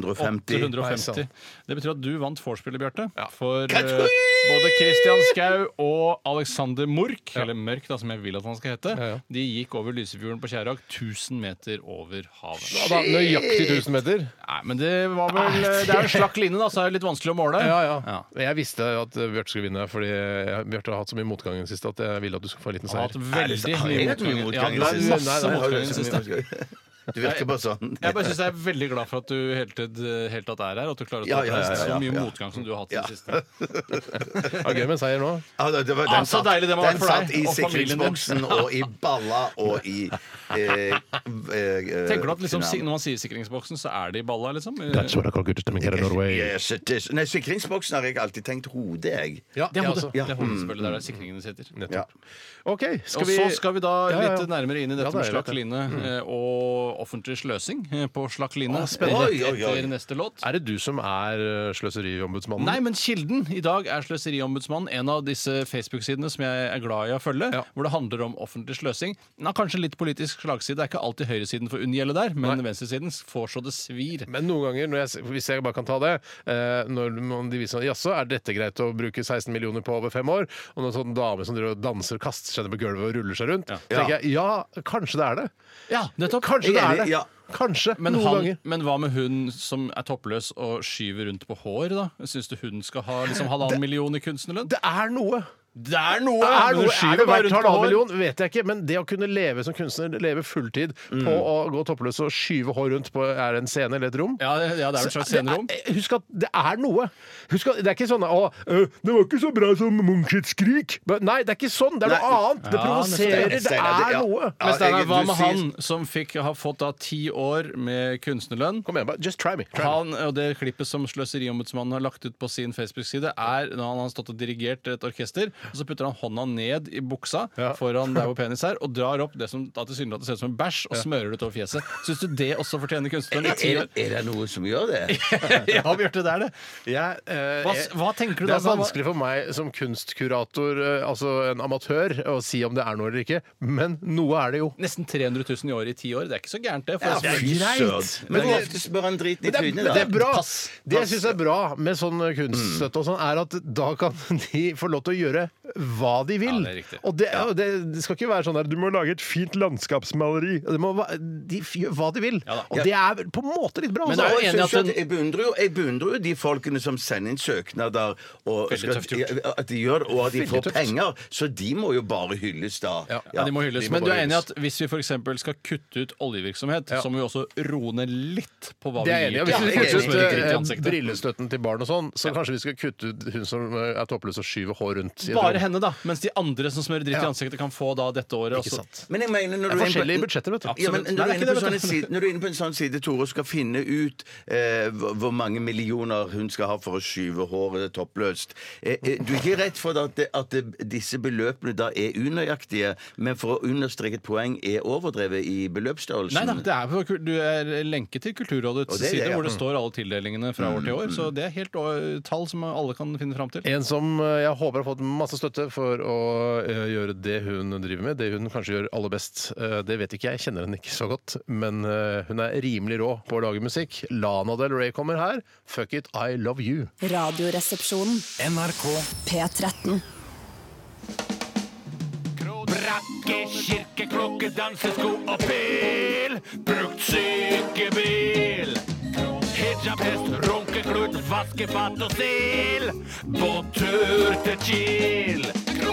850.
850.
sant.
Det betyr at du vant vorspielet, Bjarte. For eh, både Christian Skau og Alexander Mork, eller Mørk, da, som jeg vil at han skal hete,
Ja, ja.
de gikk over Lysefjorden på Kjærag 1000 meter over havet.
Ja, da, Nøyaktig 1000 meter?
Nei, men det var vel eh, Det er jo en slakk line, da, så er det litt vanskelig å måle.
Ja, ja. Jeg visste at eh, Bjarte skulle vinne, fordi eh, Bjarte har hatt så mye motgang motgangen sist at jeg ville at du skulle få en liten
Har hatt
seier.
veldig
sant? Har
mye
jeg hatt mye
motgang. Ja, du
motgang i
har
det
masse
siste? Nei, nei,
Har
motgang i det siste.
du så mye motgang? Du virker bare sånn.
Jeg bare synes jeg er veldig glad for at du hele tiden, hele tatt er her, og at du klarer å
Ja,
stå
ja, ja,
så
ja,
mye
ja.
motgang som du har hatt i
Ja.
det siste.
Det er gøy med en seier nå.
Ja, det, det var, den
Ah, så
satt,
deilig det må ha
den
vært for deg
satt i
og familien din.
sikringsboksen og i balla og i eh, eh,
Tenker du at liksom, si-
knall.
når man sier sikringsboksen, så er det i balla, liksom?
what I call good stomach in Norway.
Yes, it is. Nei, sikringsboksen har jeg alltid tenkt hodet, jeg.
Ja,
Det er hodet.
altså.
Det er hodet selvfølgelig der, der sikringene sitter.
Ja.
OK, skal
Og
vi
så skal vi da
Ja, ja.
litt nærmere inn i dette
Ja, det er
med
jo
slakk
det.
line eh, og offentlig sløsing eh, på slakk line.
Å, spennende.
rett
Oi, oi, oi.
Etter neste låt.
Er det du som er eh, sløseriombudsmannen?
Nei, men kilden i dag er Sløseriombudsmannen, en av disse Facebook-sidene som jeg er glad i å følge,
Ja.
hvor det handler om offentlig sløsing. Den har kanskje litt politisk slagside, det er ikke alltid høyresiden får unngjelde der, men venstresiden får så det svir.
Men noen ganger, når jeg, hvis jeg bare kan ta det eh, Når man- de viser sånn, Jaså, er dette greit å bruke 16 millioner på over fem år? Og noen sånne damer som driver og danser og kaster seg ned på gulvet og ruller seg rundt. Så tenker jeg ja, kanskje det er det.
Ja, nettopp.
Kanskje
Jeg
det
er
er det.
enig, ja.
Kanskje.
Men,
noen
han,
ganger.
men hva med hun som er toppløs og skyver rundt på hår, da? Syns du hun skal ha liksom halvannen million i kunstnerlønn?
Det er noe.
Det er noe!
Det
men
er, noe,
hun
er
skyver
det
bare
verdt
rundt på
halvannen
hår.
million? Vet jeg ikke. Men det å kunne leve som kunstner, leve fulltid
Mm.
på å gå toppløs og skyve hår rundt på er det en scene eller et rom
Ja, det- ja, det er vel et slags
Det
scenerom.
er- eh, Husk at det er noe. Husk at Det er ikke sånn å, ø, 'Det var ikke så bra som Munchs skrik'. Men Nei, det er ikke sånn. Det er noe
Nei.
annet. Det
Ja,
provoserer. Det
Steinar,
er
ja.
noe.
Ja.
Men Steinar,
jeg-
hva
du
med
sier-
han som fikk, har fått da ti år med kunstnerlønn?
Kom igjen, bare just try me. Try me.
Han, og Det klippet som Sløseriombudsmannen har lagt ut på sin Facebook-side, er når han har stått og dirigert et orkester, og så putter han hånda ned i buksa
Ja.
foran der hvor penis er, og drar opp det som da tilsynelatende ser ut som en bæsj, og smører det utover fjeset. Syns du det også fortjener kunstneren? i ti
Er,
år?
er det noe som gjør det?
ja, Bjarte, det er det.
Jeg, eh,
Hva,
jeg-
hva tenker du
det
da?
er vanskelig for meg som kunstkurator, eh, altså en amatør, å si om det er noe eller ikke, men noe er det jo.
Nesten 300 000 i året i ti år. Det er ikke så gærent, det. For
Ja,
det er
fy
ikke-
greit.
Søren.
Det er
Men hvor
greit.
ofte spør han driten i
Men det,
trynet,
er,
da?
det er bra.
Pass.
Det jeg syns er bra med sånn kunststøtte og sånn, er at da kan de få lov til å gjøre hva de vil.
Ja, det er riktig.
og det, og det, det skal ikke være sånn der du må lage et fint landskapsmaleri. Det må, va- de f- gjør hva de vil.
Ja da.
og det er vel på en måte litt bra.
Men det
altså.
er jo
Og jeg
enig i at
synes jo
den-
at jeg, beundrer jo, jeg beundrer jo de folkene som sender inn søknader, og
Veldig tøft gjort.
ja, at de gjør det, og at de
Veldig
får
tøft.
penger. Så de må jo bare hylles, da.
Ja.
Ja, de må hylles.
de må
Men du
bare
er enig i
hylles.
at hvis vi f.eks. skal kutte ut oljevirksomhet, så må vi også roe ned litt på hva
Det er jeg enig. i.
vi
Og altså.
til
Hvis vi
Ja, jeg
kutter
er
kunstnere som
ut
enig.
rykker ut i
eh,
ansiktet.
brillestøtten til barn og sånn, så kanskje vi skal kutte ut hun som eh, er toppløs og skyver hår rundt. i et
Bare
rom.
henne, da. Mens de andre som smører dritt
Ja.
i ansiktet, kan få da dette året.
Ikke
også.
sant.
Men jeg mener når
Det er
du er inne
forskjellige
på-
budsjetter, vet du.
Ja, men
Absolutt. Nei,
når, du er
det er
inne på
ikke det,
sånne
vet du.
side, når du er inne på en sånn side, Tore, og skal finne ut eh, hvor hvor mange millioner hun skal ha for å skyve håret toppløst eh, eh, Du er ikke redd for at, det, at det, disse beløpene da er unøyaktige, men for å understreke et poeng er overdrevet i beløpsstørrelsen?
Nei da, det er, på kul- du er lenke til Kulturrådets
Og det er det,
side,
ja.
hvor det
mm.
står alle tildelingene fra år til år. Så det er helt å- tall som alle kan finne fram til.
En som eh, jeg håper har fått masse støtte for å eh, gjøre det hun driver med, det hun kanskje gjør aller best. Eh, Det vet ikke jeg, jeg kjenner henne ikke så godt, men eh, hun er rimelig rå på å lage musikk. Lana Del Rey kommer her. Fuck it, I love you.
Radioresepsjonen.
NRK
P13.
Brakke, kirke, klokke, dansesko og pil. Brukt sykebil. Hijab, hest, runkeklut, vaskefat og stil. Båttur til Kiel.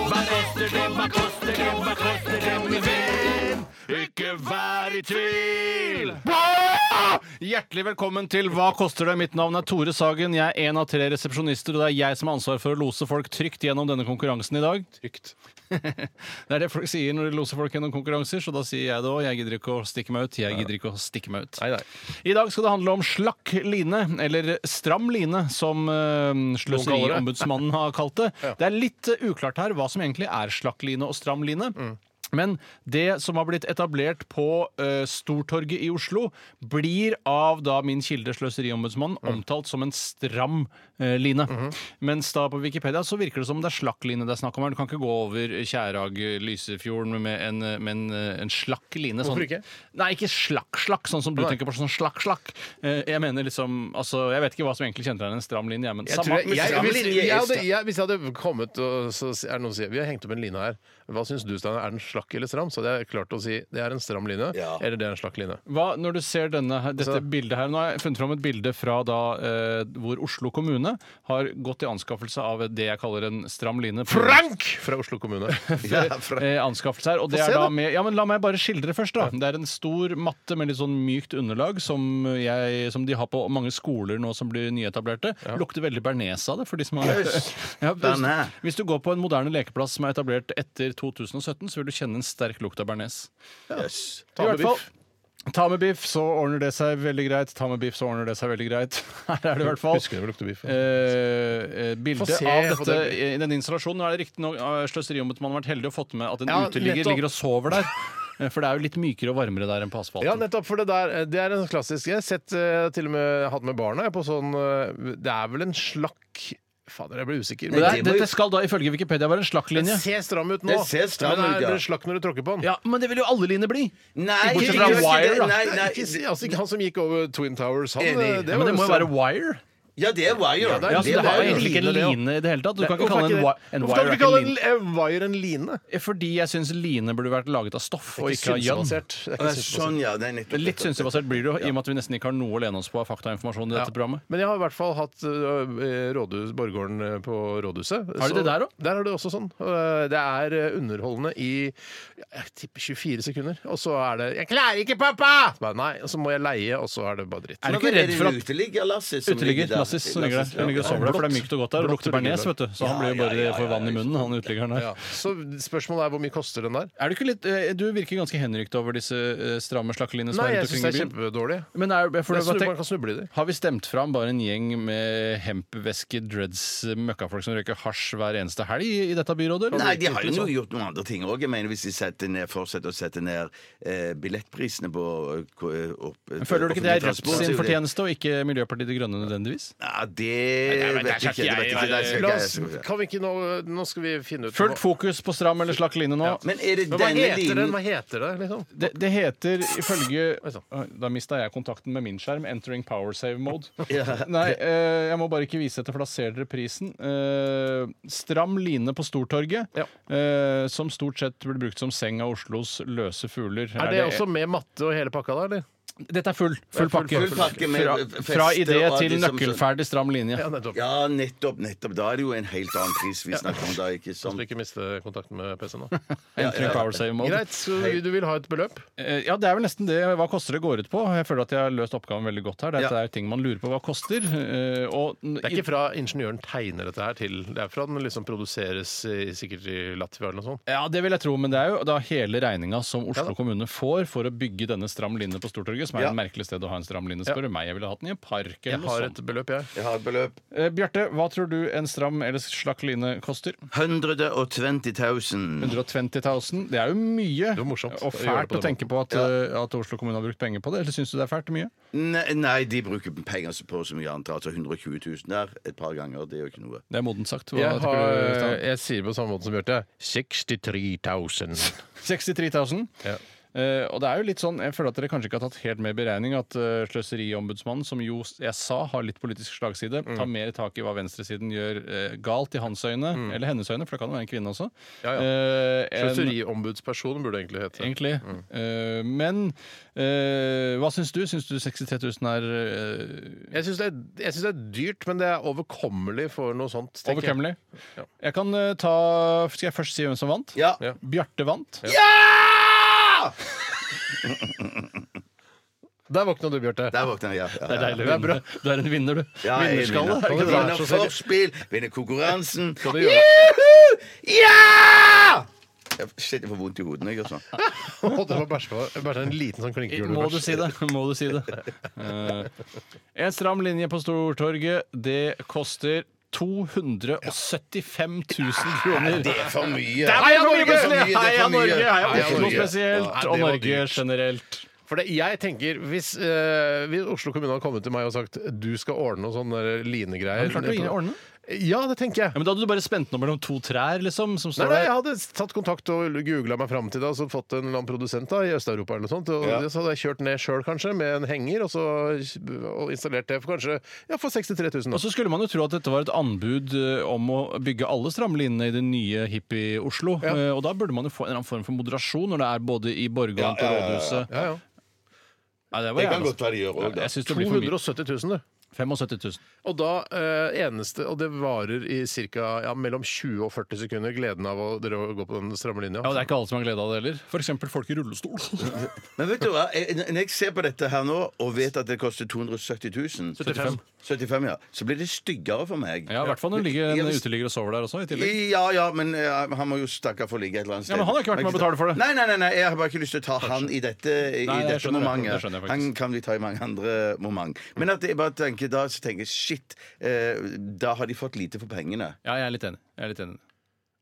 Hva koster det, hva koster det, hva koster det, min venn? Ikke vær i tvil.
Ah! Hjertelig velkommen til Hva koster det? Mitt navn er Tore Sagen. Jeg er en av tre resepsjonister, og det er jeg som har ansvar for å lose folk trygt gjennom denne konkurransen i dag.
Trygt.
Det er det folk sier når de loser folk gjennom konkurranser, så da sier jeg det òg. Jeg gidder ikke å stikke meg ut. Jeg gidder ikke å stikke meg ut.
Nei, nei.
I dag skal det handle om slakk line, eller stram line, som eh, Sløseriombudsmannen har kalt det. Det er litt eh, uklart her hva som egentlig er slakk line og stram line.
Mm.
Men det som har blitt etablert på eh, Stortorget i Oslo, blir av da min kilde Sløseriombudsmannen
Mm.
omtalt som en stram eh, line.
Mm-hmm.
Mens da på Wikipedia så virker det som det er slakk line det er snakk om her. Du kan ikke gå over Kjærag-Lysefjorden med, en, eh, med en, eh, en slakk line.
Hvorfor ikke?
Nei, ikke slakk-slakk, sånn som du tenker på. sånn slakk-slakk. Eh, Jeg mener liksom, altså, jeg vet ikke hva som egentlig kjennetegner en stram linje. jeg, Men
Jeg
samme,
tror jeg, jeg,
samme
hvis,
linje
jeg,
er
hadde,
sta-
jeg, hvis jeg hadde kommet og så er det noen som sier vi har hengt opp en line her, hva syns du Steinar, er den slakk slakk eller stram, så hadde jeg klart å si det er en stram line,
Ja.
eller det er en slakk line.
Hva, når du ser denne, her- dette
Altså-
bildet her Nå har jeg funnet fram et bilde fra da eh, hvor Oslo kommune har gått i anskaffelse av det jeg kaller en stram line. på-
Fra Oslo kommune.
Ja, fra-
eh, anskaffelse her. Og det
Få se,
er da
da.
med, ja, men la meg bare skildre først. da. Det er en stor matte med litt sånn mykt underlag som, jeg, som de har på mange skoler nå som blir nyetablerte. Lukter veldig bearnés av det. for de som har... Ja,
Bearnés.
hvis, hvis du går på en moderne lekeplass som er etablert etter 2017, så vil du kjenne en sterk lukt av bearnés.
Yes.
I hvert fall. Ta med biff, så ordner det seg veldig greit. Ta med biff, så ordner det seg veldig greit. Her er det i hvert fall.
Husker du det lukter altså? biff?
Eh, eh, bilde
Få se
av
på
dette
det.
i denne installasjonen. Nå er det riktignok eh, Sløseriombudsmannen har vært heldig og fått med at en
Ja,
uteligger
nettopp.
ligger og sover der. Eh, For det er jo litt mykere og varmere der enn på asfalten.
Ja, nettopp, for det der eh, Det er en klassisk Jeg har sett eh, til og med hatt med barna jeg, på sånn eh, Det er vel en slakk Fader, jeg ble usikker.
Men det er,
det må jo-
dette skal da ifølge Wikipedia være en
den
slakklinje.
ser stram ut nå.
Den ser
men
stram
det
ut,
er
ja.
det er slakk når du tråkker på den.
Ja, men det vil jo alle liner bli!
Nei,
Bortsett
ikke-
fra
ikke- ikke-
Wire, da.
Nei, nei,
Ikke, si- altså, ikke han som gikk over Twin Towers, han
Enig.
eh,
ja, men det må jo være
stram.
wire.
ja, det er Wire.
det er-
Ja, så det
det
har
er
jo egentlig ikke en
line, det også.
line i det hele tatt. Du kan ikke
Hvorfor
kalle en,
er
wi-
det-
en wire er
Hvorfor kan du ikke
ikke
kalle
en
en
line.
eh, wire en line?
Fordi jeg syns line burde vært laget av stoff og ikke av gjønn.
Synsbasert. Det er
Å,
ikke
ja, Sånn, ja. Det er nettopp.
Litt synsebasert blir det jo, i og med at vi nesten ikke har noe å lene oss på av faktainformasjon i dette programmet.
Men jeg har i hvert fall hatt øh, rådhus, borggården øh, på rådhuset.
Har de det der
òg?
også?
Der er det også sånn. Øh, Det er øh, underholdende i jeg tipper 24 sekunder. Og så er det 'Jeg klarer ikke, pappa!' Så bare, nei, og så må jeg leie, og så er det bare dritt.
Er du
Men
ikke redd for
Er det
at
uteligger Lassis som
Uteligger
ligger der?
Lassis som ligger der.
Lassis,
Hun ligger og sover der, for det er
Blått.
mykt og godt der. Og
Blått
lukter bearnés,
uteligger.
vet du. Så han blir jo bare får vann i munnen, han uteliggeren der.
Ja. Så spørsmålet er hvor mye koster den der?
Er du ikke litt eh, Du virker ganske henrykt over disse eh, stramme slakkelinjene som
Nei,
er rundt
jeg syns
omkring
det er
i byen.
kjempedårlig.
Men er, for,
Jeg
hva
snubler-
tenk-
Man kan snuble i det.
har vi stemt fram bare en gjeng med hempvæske, dreads, møkkafolk som røyker hasj hver eneste helg i- i dette byrådet? eller?
Nei, de har jo noe-
liksom.
gjort noen andre ting òg. Hvis de setter ned, fortsetter å sette ned eh, billettprisene på eh, ko- eh, opp,
Men Føler du ikke det er Rødt
transport, så
sin
jo det-
fortjeneste, og ikke Miljøpartiet De Grønne nødvendigvis?
Ja, det
men det skal
vet jeg ikke. Det vet
ikke
jeg ikke.
jeg-
Nei, det skal
La
ikke
oss,
jeg-
kan vi ikke nå Nå skal vi finne ut
Fullt fokus på stram eller slakk line nå.
Men er det
Men Hva
denne
heter den?
linen
Hva heter det, liksom?
Det, det heter ifølge
Oi, sann.
Oi, Da mista jeg kontakten med min skjerm. Entering power save mode. Nei, eh, jeg må bare ikke vise dette, for da ser dere prisen. Eh, stram line på Stortorget, eh, som stort sett blir brukt som seng av Oslos løse fugler.
Er det også med matte og hele pakka da, eller?
Dette er full, full pakke.
full pakke med
fra,
feste
fra idé
og
til
liksom-
nøkkelferdig stram linje.
Ja, nettopp.
Ja, nettopp. nettopp Da er det jo en helt annen pris vi snakker om da, ikke
Så du
sant?
ikke mister kontakten med PC-en nå.
Entering power save mode.
Greit, så du vil ha et beløp?
Eh, Ja, det er vel nesten det. Hva koster det går ut på? Jeg føler at jeg har løst oppgaven veldig godt her. Dette
Ja.
er ting man lurer på hva koster. eh, Og
Det er ikke fra ingeniøren tegner dette her til Det er fra den liksom produseres i, sikkert i Latvia eller noe sånt.
ja, det vil jeg tro, men det er jo da hele regninga som Oslo kommune får for å bygge denne stram linje på Stortorget, som er
Ja.
et merkelig sted å ha en stram linje, spør du meg. Jeg ville hatt den i en park eller sånn.
Jeg
noe
har
sånt.
et beløp, jeg.
Jeg har et beløp.
Eh, Bjarte, hva tror du en stram eller slakk line koster?
120 000.
120 000. Det er jo mye.
var morsomt
Og
å gjøre det
fælt å
på den
tenke på at, eh, at Oslo kommune har brukt penger på det. Eller syns du det er fælt mye?
Nei, nei, de bruker penger på så mye annet. Altså 120 000 der et par ganger. Det er jo ikke noe.
Det er modent sagt. Hva
Jeg,
tenker du, Øystein?
sier på samme måte som Bjarte. 63 000.
63 000.
Ja.
Eh, og det er jo litt sånn, Jeg føler at dere kanskje ikke har tatt helt med i beregning at eh, Sløseriombudsmannen, som jo s- jeg sa har litt politisk slagside, tar mer tak i hva venstresiden gjør eh, galt i hans øyne, eller hennes øyne, for det kan jo være en kvinne også.
Ja, ja.
eh, enn-
Sløseriombudsperson burde det egentlig hete.
Egentlig. Eh, men eh, hva syns du? Syns du 63 000 er eh,
Jeg syns det, er- jeg synes det er dyrt, men det er overkommelig for noe sånt. tenker jeg.
overkommelig?
Ja.
Jeg kan eh, ta Skal jeg først si hvem som vant?
Ja!
Ja.
Bjarte vant.
Der våkna du, Bjarte.
Der våkna jeg. Ja, ja,
Det er deilig å
Det er
vinne. Du er en vinner, du.
Ja, jeg er
Vinnerskalle. er
vinner.
det ikke bra?
Vinner forspill, vinner konkurransen.
du gjøre-
Juhu! Ja! Jeg- Shit, jeg får vondt i hodet når jeg gjør sånn.
Å, det var bæsj på- bæsj en liten sånn klinkekule.
Må du si det? Må du si det? Eh, en stram linje på Stortorget, det koster 275 000 kroner.
Ah, Det er for mye.
Heia Norge!
Det er for mye, det er for
Heia
mye.
Norge! Heia
Heia
Oslo
Norge.
Ja,
spesielt,
det
og
var
Norge
dyrt.
generelt.
For det, jeg tenker, hvis, eh, hvis Oslo kommune hadde kommet til meg og sagt du skal ordne noe sånn der linegreier
Har du klart å ordne?
Ja, det tenker
Ja,
jeg.
men da hadde du bare spent noe mellom to trær, liksom, som
Nei,
står
nei,
der.
Jeg hadde tatt kontakt og googla meg fram til det og så fått en eller annen produsent da, i Øst-Europa. eller noe sånt, og Så hadde jeg kjørt ned sjøl, kanskje, med en henger, og så og installert det for kanskje ja, for 63 000.
Og så skulle man jo tro at dette var et anbud eh, om å bygge alle strømlinjene i det nye hippie-Oslo.
Ja.
Eh, Og da burde man jo få en eller annen form for moderasjon når det er både i Borgholm og på rådhuset.
Ja, ja.
Nei, det, var
Det kan
jævla-
godt være de gjør òg,
Ja,
da.
Jeg syns det blir for mye.
270 000, du.
75 000.
Og da eh, eneste, og det varer i cirka, ja, mellom 20 og 40 sekunder, gleden av å dere å gå på den stramme linja.
Ja, og det er ikke alle som har glede av det heller. F.eks. folk i rullestol.
Men vet du hva, jeg, når jeg ser på dette her nå og vet at det koster 270 000
75.
75, ja. Så blir det styggere for meg.
Ja, I hvert fall når det ligger
Ja,
en
hvis-
uteligger og sover der også. i tillegg.
Ja, ja, men eh, han må jo stakkar få ligge et eller annet sted.
Ja, men han har ikke vært med å betale for det.
Nei, nei, nei, nei, jeg har bare ikke lyst til å ta han i dette, i
Nei, jeg
dette
skjønner det. Det
momentet.
skjønner jeg faktisk.
han kan vi ta i mange andre moment. Men at jeg bare tenker da så tenker jeg, shit, eh, da har de fått lite for pengene.
Ja, jeg er litt enig. Jeg er litt enig.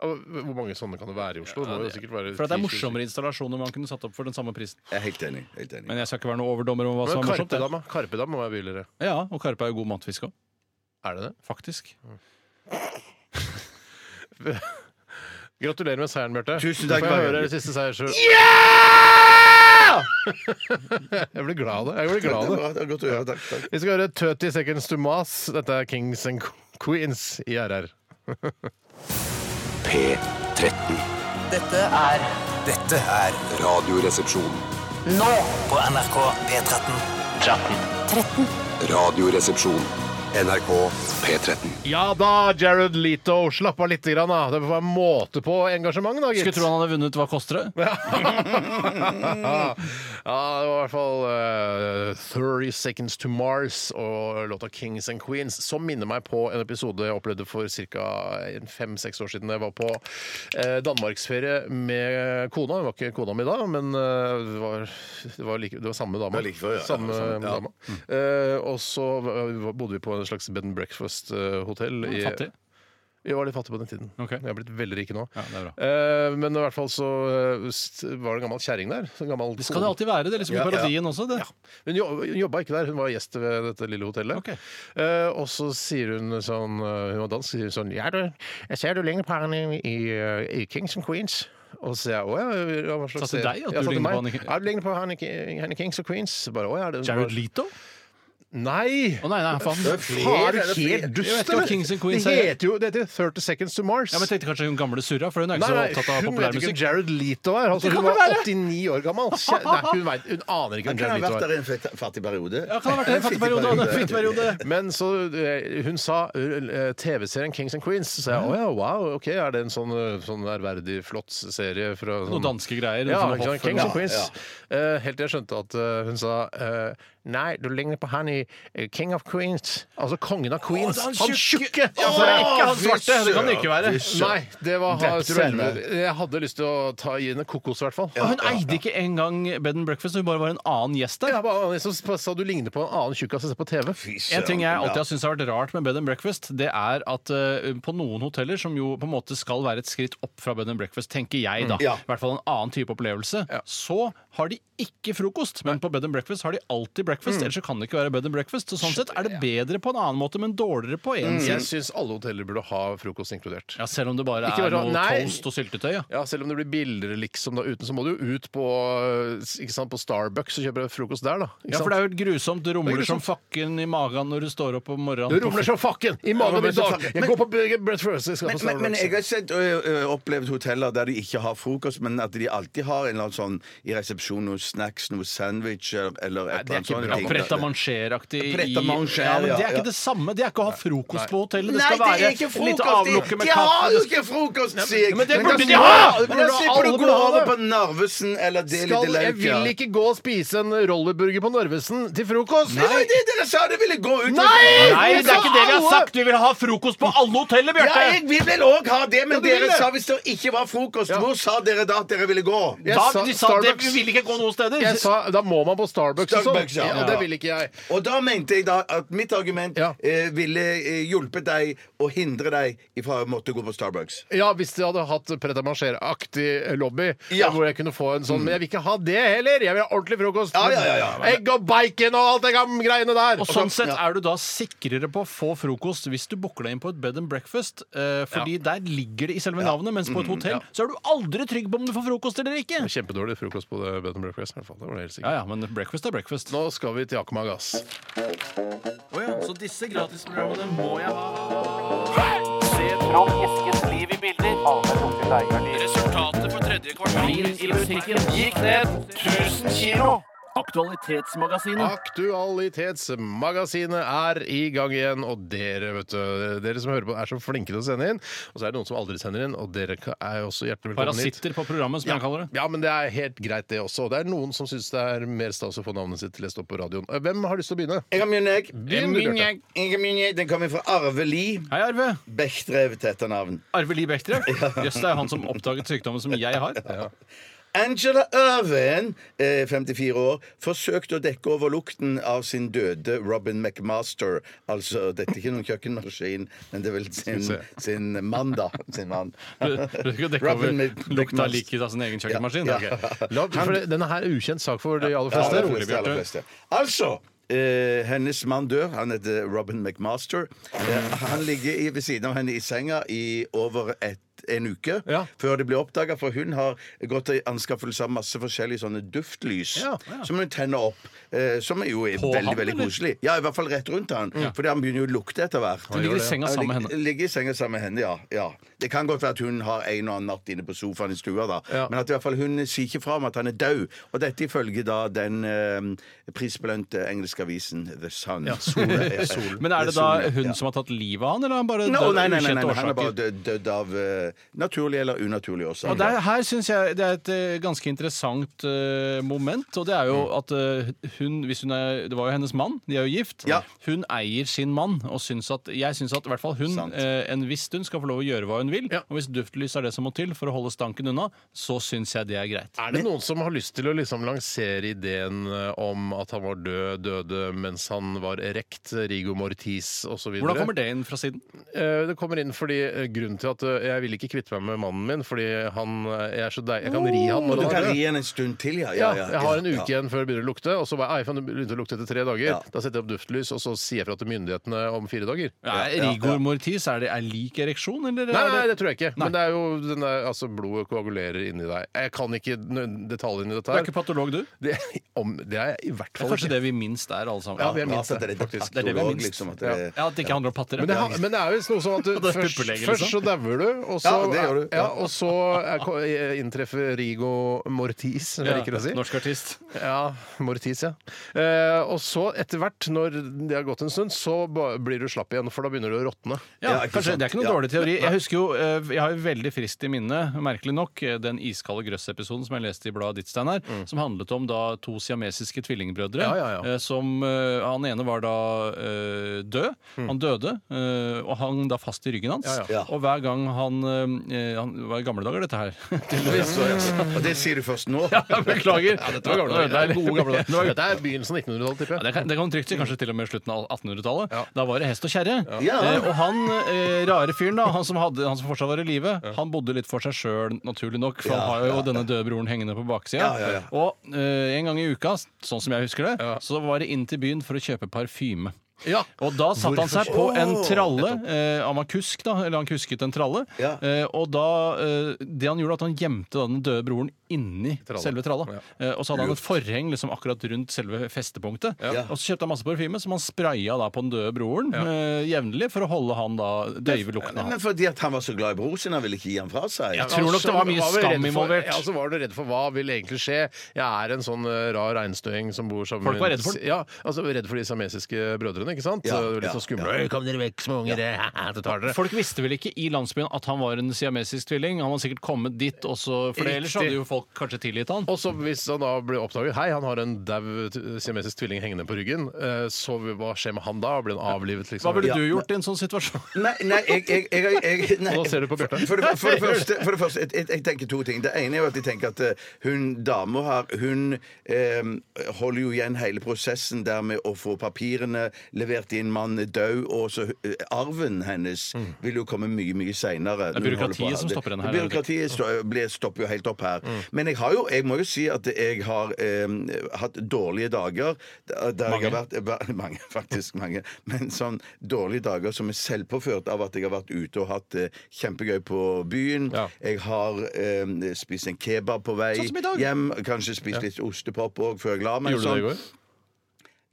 Og Hvor mange sånne kan det være i Oslo? Det må jo sikkert være
For at det er
10 000.
morsommere installasjoner man kunne satt opp for den samme prisen.
Jeg er helt enig. Helt enig.
Men jeg skal ikke være noe overdommer om hva som
Men
er morsomt. jeg.
Karpedam, da? Karpedam må være billigere.
Ja, og karpe er jo god matfisk òg.
Er det det?
Faktisk.
Gratulerer med seieren, Bjarte.
Tusen takk,
Får jeg
Børge.
høre det siste seier selv? jeg blir glad av det. Jeg blir
det,
glad
er
av det.
bra, det er godt å høre. Takk, takk.
Vi skal høre 30 Seconds to Mas. Dette er Kings and Queens i RR.
P13.
Dette er
Dette er
Radioresepsjon.
nå
på NRK P13.
Radioresepsjon. NRK P13.
Ja da, Jared Leto. Slapp av litt, grann, da. Det får være måte på engasjement, da, gitt.
Skulle tro han hadde vunnet Hva koster det?
ja, det var i hvert fall eh, 30 Seconds to Mars og låta Kings and Queens, som minner meg på en episode jeg opplevde for ca. fem-seks år siden. da Jeg var på eh, danmarksferie med kona. Hun var ikke kona mi da, men eh, det, var, det, var like, det var samme dama.
var like før, ja, ja,
Samme
samme, ja. Mm.
dama. Eh, og så var- bodde vi på en slags bed and eh, breakfast-hotell.
Fattig.
Vi var litt fattige på den tiden.
Ok.
Jeg har blitt veldig rike nå.
Ja, det er bra.
Eh, men i hvert fall så eh, st- var det en gammel kjerring der. En gammel
Det skal det alltid være. Det er liksom i
Ja, ja.
parodien også. det.
Hun jo- hun jobba ikke der, hun var gjest ved dette lille hotellet.
Ok.
Eh, og så sier hun sånn eh, Hun var dansk, sier hun sånn Ja, du, jeg ser du ligner på han i, i, eh, i Kings and Queens. Og så sier jeg å ja, ja, hva slags
Sa til
serie?»
deg at
Ja,
du
sa til
ligner på
meg.
han i-
Ja, du ligner på han i, han i Kings and Queens. Så Bare, å, ja, det,
Jared Leto?
Nei!
Å nei, nei, faen.
Faen, er du
flere.
helt
Jeg vet
dust,
ikke hva Kings and Queens
det
er.
heter jo det heter 30 Seconds to Mars.
Ja, men jeg tenkte kanskje hun gamle surra, for hun er ikke
Nei,
så
nei,
opptatt av
hun vet ikke hvem
populærmusikk.
Jared Leto er. Altså,
Det kan
hun var
det være.
89 år gammel. Kje- Nei, hun, vet, hun aner ikke
Han
hvem
kan ha
Jared
vært
Leto er.
der i en fett- fattig periode.
Ja, kan ha vært en fattig periode og en fin periode.
Men så eh, hun sa eh, TV-serien Kings and Queens. Så sa jeg å ja, wow, ok, er det en sånn, eh, sånn ærverdig, flott serie fra sånn,
Noen danske greier.
Ja,
sånn
ikke sant,
hoff-
Kings
Ja.
and Queens. Eh, helt til jeg skjønte at eh, hun sa eh, Nei, du ligner på han i eh, King of Queens. Altså kongen av Queens.
Å, det er
han tjukke! Altså,
Ja, for det er ikke han svarte! Det kan det ikke være.
Nei, det var
Drepte du henne?
Jeg hadde lyst til å ta, gi henne kokos, i hvert fall.
Og hun eide ikke engang Bed and Breakfast, hun bare var en annen gjest der.
Ja, bare, så sa du ligner på en annen tjukkas jeg ser på TV.
En ting jeg alltid har syntes har vært rart med bed and breakfast, det er at eh, på noen hoteller, som jo på en måte skal være et skritt opp fra bed and breakfast, tenker jeg
Mm,
da,
Ja.
i hvert fall en annen type opplevelse, så har de ikke frokost. Men på bed and breakfast har de alltid breakfast,
Mm.
ellers så kan det ikke være bed and breakfast. Så sånn sett er det bedre på en annen måte, men dårligere på en
Mm.
side.
Jeg syns alle hoteller burde ha frokost inkludert.
Ja, selv om det bare
Ikke
er
bare sånn,
noe
nei.
toast og syltetøy. Ja.
Ja, Selv om det blir billigere liksom da uten, så må du jo ut på, ikke sant, på Starbucks og kjøpe frokost der, da. Ikke
Ja, for
sant?
det er jo grusomt. Det rumler
Det er
som
grusomt.
fakken i magen når du står opp om morgenen.
Du rumler som fakken i magen
Ja,
min
men-
i dag! Jeg
men-
går på Burger Breakfast! Jeg skal på
Men, men, men
Starbucks.
jeg har sett og ø, ø, opplevd hoteller der de ikke har frokost, men at de alltid har en eller annen sånn i resepsjonen noe snacks, noe sandwich eller, eller et eller annet
ikke
sånt.
bra.
Ja, Pret à manger-aktig i-
Pret à manger,
ja, men Det
ja,
er ikke
ja.
det samme. Det er ikke å ha frokost på hotellet. Det
Nei,
skal
det
være
er ikke
litt
frokost!
avlukke
De,
med
de har jo
kaffe.
ikke frokost, sier jeg!
men det
Men da
burde de
slipper-
ha! Det
Men
burde
da
ha.
slipper
Alle
du
burde
gå
ha
over
det.
på Narvesen eller Deli
Skal,
de
jeg vil ikke gå og spise en rollerburger på Narvesen til frokost!
Nei, det dere sa! Dere ville gå ut
Nei, det er ikke det vi har sagt! Vi vil ha frokost på alle hoteller,
Ja,
Bjarte!
jeg vil vel òg ha det, men
Ja, du vil
dere
det.
sa hvis det ikke var frokost, hvor sa dere da at dere ville gå?
Jeg
Da,
sa
de sa det,
Starbucks.
vi vil ikke gå noen steder.
Jeg sa, da må man på Starbucks, og sånn.
Starbucks, ja.
og det vil ikke jeg.
Og da da mente jeg da at mitt argument
Ja.
eh, ville eh, hjulpet deg og hindre deg ifra å måtte gå på Starbucks.
Ja, hvis de hadde hatt pret-a-manger-aktig lobby,
Ja. Mm.
hvor jeg kunne få en sånn Men jeg vil ikke ha det heller! Jeg vil ha ordentlig frokost!
Ja, ja, ja, ja.
Egg og bacon og alt det gam- greiene der!
Og sånn sett er du da sikrere på å få frokost hvis du booker deg inn på et bed and breakfast, eh, fordi der ligger det i selve navnet, mens på et hotell så er du aldri trygg på om du får frokost eller ikke.
Kjempedårlig frokost på det bed and breakfast. i hvert fall. Det var det helt sikkert.
Ja, ja, men breakfast er breakfast.
Nå skal vi til Jakoma Gass.
Så disse gratisprogrammene må jeg ha. Resultatet på tredje kvartal i butikken gikk ned 1000 kilo. Aktualitetsmagasinet.
Aktualitetsmagasinet er i gang igjen, og dere vet du, dere som hører på, er så flinke til å sende inn. Og så er det noen som aldri sender inn, og dere er også hjertelig velkommen hit.
Parasitter på programmet, som jeg kaller det.
Ja, men det er helt greit, det også. Det er noen som syns det er mer stas å få navnet sitt lest opp på radioen. Hvem har lyst til å begynne?
Jeg har min egg.
Begynn, du, Bjarte.
Jeg har min egg. Den kommer fra Arve Li.
Hei, Arve.
Bechdrev til etternavn.
Arve Li Bechtrev. Jøss, det er han som oppdaget sykdommen som jeg har.
Angela Irvin, eh, 54 år, forsøkte å dekke over lukten av sin døde Robin McMaster. Altså, dette er ikke noen kjøkkenmaskin, men det er vel sin,
vi
sin mann, da. Sin mann.
Du, du skal dekke
Robin
over
Mc-
lukta
McMaster.
liket av sin egen kjøkkenmaskin.
Ja,
Ok.
ja.
La, for det, denne her er ukjent sak for de aller
Ja,
fleste.
aller
rolig,
fleste, aller
Bjarte.
fleste. Altså eh, hennes mann dør. Han heter Robin McMaster. Eh, han ligger i, ved siden av henne i senga i over et, en uke
Ja.
før det blir oppdaga, for hun har gått i anskaffelse av masse forskjellige sånne duftlys
Ja,
som hun tenner opp. eh, som er jo er
På
veldig
han,
veldig
eller?
koselig. Ja, i hvert fall rett rundt han. Fordi han begynner jo å lukte etter hvert.
Hun ligger i senga
Ja,
sammen med
lig-
henne.
Ligger i senga sammen med henne, ja. ja. Det kan godt være at hun har en og annen natt inne på sofaen i stua, da.
Ja.
Men at i hvert fall hun sier ikke fra om at han er død. Og dette ifølge da den eh, prisbelønte engelske avisen The Sun. Ja, solen.
Men er det da hun som har tatt livet av han, eller er han bare
Nei,
død
nei, nei, nei,
ukjente
nei, han er
årsaker?
bare død, dødd av eh, naturlige eller unaturlige årsaker.
Og der, her syns jeg det er et eh, ganske interessant eh, moment. Og det er jo at eh, hun, hvis hun er Det var jo hennes mann, de er jo gift.
Ja.
Hun eier sin mann, og syns at jeg syns at i hvert fall hun
Sant.
eh, en viss stund skal få lov å gjøre hva hun vil.
Ja.
Og hvis duftlys er det som må til for å holde stanken unna, så syns jeg det er greit.
Er det noen som har lyst til å liksom lansere ideen eh, om at han var død, døde mens han var erekt, Rigo Mortis osv.?
Hvordan kommer det inn fra siden?
Eh, Det kommer inn fordi eh, grunnen til at eh, jeg vil ikke kvitte meg med mannen min, fordi han eh, jeg er så deilig. Jeg kan ri han
Og
når
du
han
kan
er
ri
død.
henne en stund til, ja.
Ja,
ja, ja
jeg har en uke
ja.
igjen før det begynner å lukte, og så bare, ei, faen, det begynte å lukte etter tre dager.
Ja.
Da setter jeg opp duftlys, og så sier jeg fra til myndighetene om fire dager.
Er
ja,
Rigor
ja.
mortis er det er lik ereksjon, eller?
Nei, nei,
er
nei, det
det,
tror jeg ikke. Men
Nei.
det er jo den der, altså, blodet koagulerer inni deg. Jeg kan ikke nø- detaljene i dette
du er
her.
ikke patolog, du?
Det, om, det er jeg i hvert
Det er
fall
kanskje
ikke.
det vi minst er, alle sammen.
Ja, vi er minst
altså,
det.
det er faktisk
det er det vi er
patolog,
minst.
liksom, at det-
ja, at det ikke handler om patter.
Men det, har- men det er jo noe sånn at du,
Det er
først,
puppeleger,
først så
liksom.
dauer du, og så,
Ja, det gjør du.
Ja, og så er, ko- eh, inntreffer Rigo Mortis, som jeg liker å si.
Norsk artist.
Ja, Mortis, ja. Eh, og så etter hvert, når det har gått en stund, så ba- blir du slapp igjen, for da begynner du å råtne.
Ja,
Ja, ikke
kanskje,
sant?
Det er ikke noen
Ja.
dårlig teori. Jeg husker jo, eh, jeg har jo veldig friskt i minne, merkelig nok, eh, den iskalde grøss-episoden som jeg leste i bladet ditt, Steinar, som handlet om da to siamesiske tvillingbrødre.
Mm. Ja, ja, ja.
eh, Som, eh, han ene var da eh, død. Han døde eh, og hang da fast i ryggen hans.
Mm. Ja,
ja.
Og hver gang han, eh, han Det var i gamle dager, dette her.
Så, ja. Og det sier du først nå?
Beklager.
Det var gamle dager.
Det er gode gamle dager.
Det var- Dette er begynnelsen av 1900-tallet, tipper
Ja,
jeg.
det, kan, det kan man trygt si, kanskje til og med slutten av 1800-tallet.
Ja.
Da var det hest og kjerre.
Ja.
Eh, og han eh, rare fyren, da, han som, hadde, han som fortsatt var i live, han bodde litt for seg sjøl, naturlig nok, for
Ja,
han har jo
ja,
denne døde broren hengende på baksida.
Ja, ja, ja.
Og eh, en gang i uka, sånn som jeg husker det, så var det inn til byen for å kjøpe parfyme.
Ja.
Og da satte han seg på
Hvorfor?
en
Åh!
tralle. Eh, han var kusk, da. Eller han kusket en tralle.
Ja.
Eh, og da eh, Det han gjorde, at han gjemte da den døde broren inni
Tralla.
selve tralla.
Ja.
Eh, og så hadde han et forheng liksom akkurat rundt selve festepunktet.
Ja.
Og så kjøpte han masse parfyme som han spraya da på den døde broren eh, jevnlig for å holde han da døyve lukten av
Men
han.
fordi at han var så glad i bror sin, han ville ikke gi ham fra seg?
Jeg tror nok det var mye
vel
skam
redd for-
involvert.
Ja, så var du redd for hva vil egentlig skje. Jeg er en sånn eh, rar einstøing som bor sammen
Folk var redde for den.
Ja, altså redd for de samesiske brødrene, ikke sant?
Ja,
Så Litt
ja,
sånn skumle.
ja.
«Øy, Kom dere vekk, små unger! eh, Det tar dere.
Folk visste vel ikke i landsbyen at han var en siamesisk tvilling. Han var sikkert kommet dit også, for
Riktig.
ellers hadde jo folk folk kanskje tilgitt han.
Og så hvis han da blir oppdaget Hei, han har en dau t- siamesisk tvilling hengende på ryggen. eh, Så hva skjer med han da? Blir han avlivet,
Hva
liksom?
ville du gjort i en sånn situasjon?
Nei, nei, jeg, jeg, jeg, jeg nei.
Og da ser du på Bjarte.
For, for, det- for det første, for det første jeg, jeg, jeg tenker to ting. Det ene er jo at jeg tenker at eh, hun dama her, hun eh, holder jo igjen hele prosessen der med å få papirene levert inn, mannen er død, og så eh, arven hennes vil jo komme mye, mye seinere.
Mm. Det er byråkratiet som stopper henne her,
Byråkratiet stå- blir- stopper jo helt opp her.
Mm.
Men jeg har jo, jeg må jo si at jeg har eh, hatt dårlige dager der der jeg har vært vært- Mange, faktisk mange. Men sånn dårlige dager som er selvpåført av at jeg har vært ute og hatt det kjempegøy på byen.
Ja.
Jeg har eh, spist en kebab på vei
Sånn som i dag.
hjem. Kanskje spist litt ostepop òg før jeg la meg.
Gjorde du det i
sånn.
går?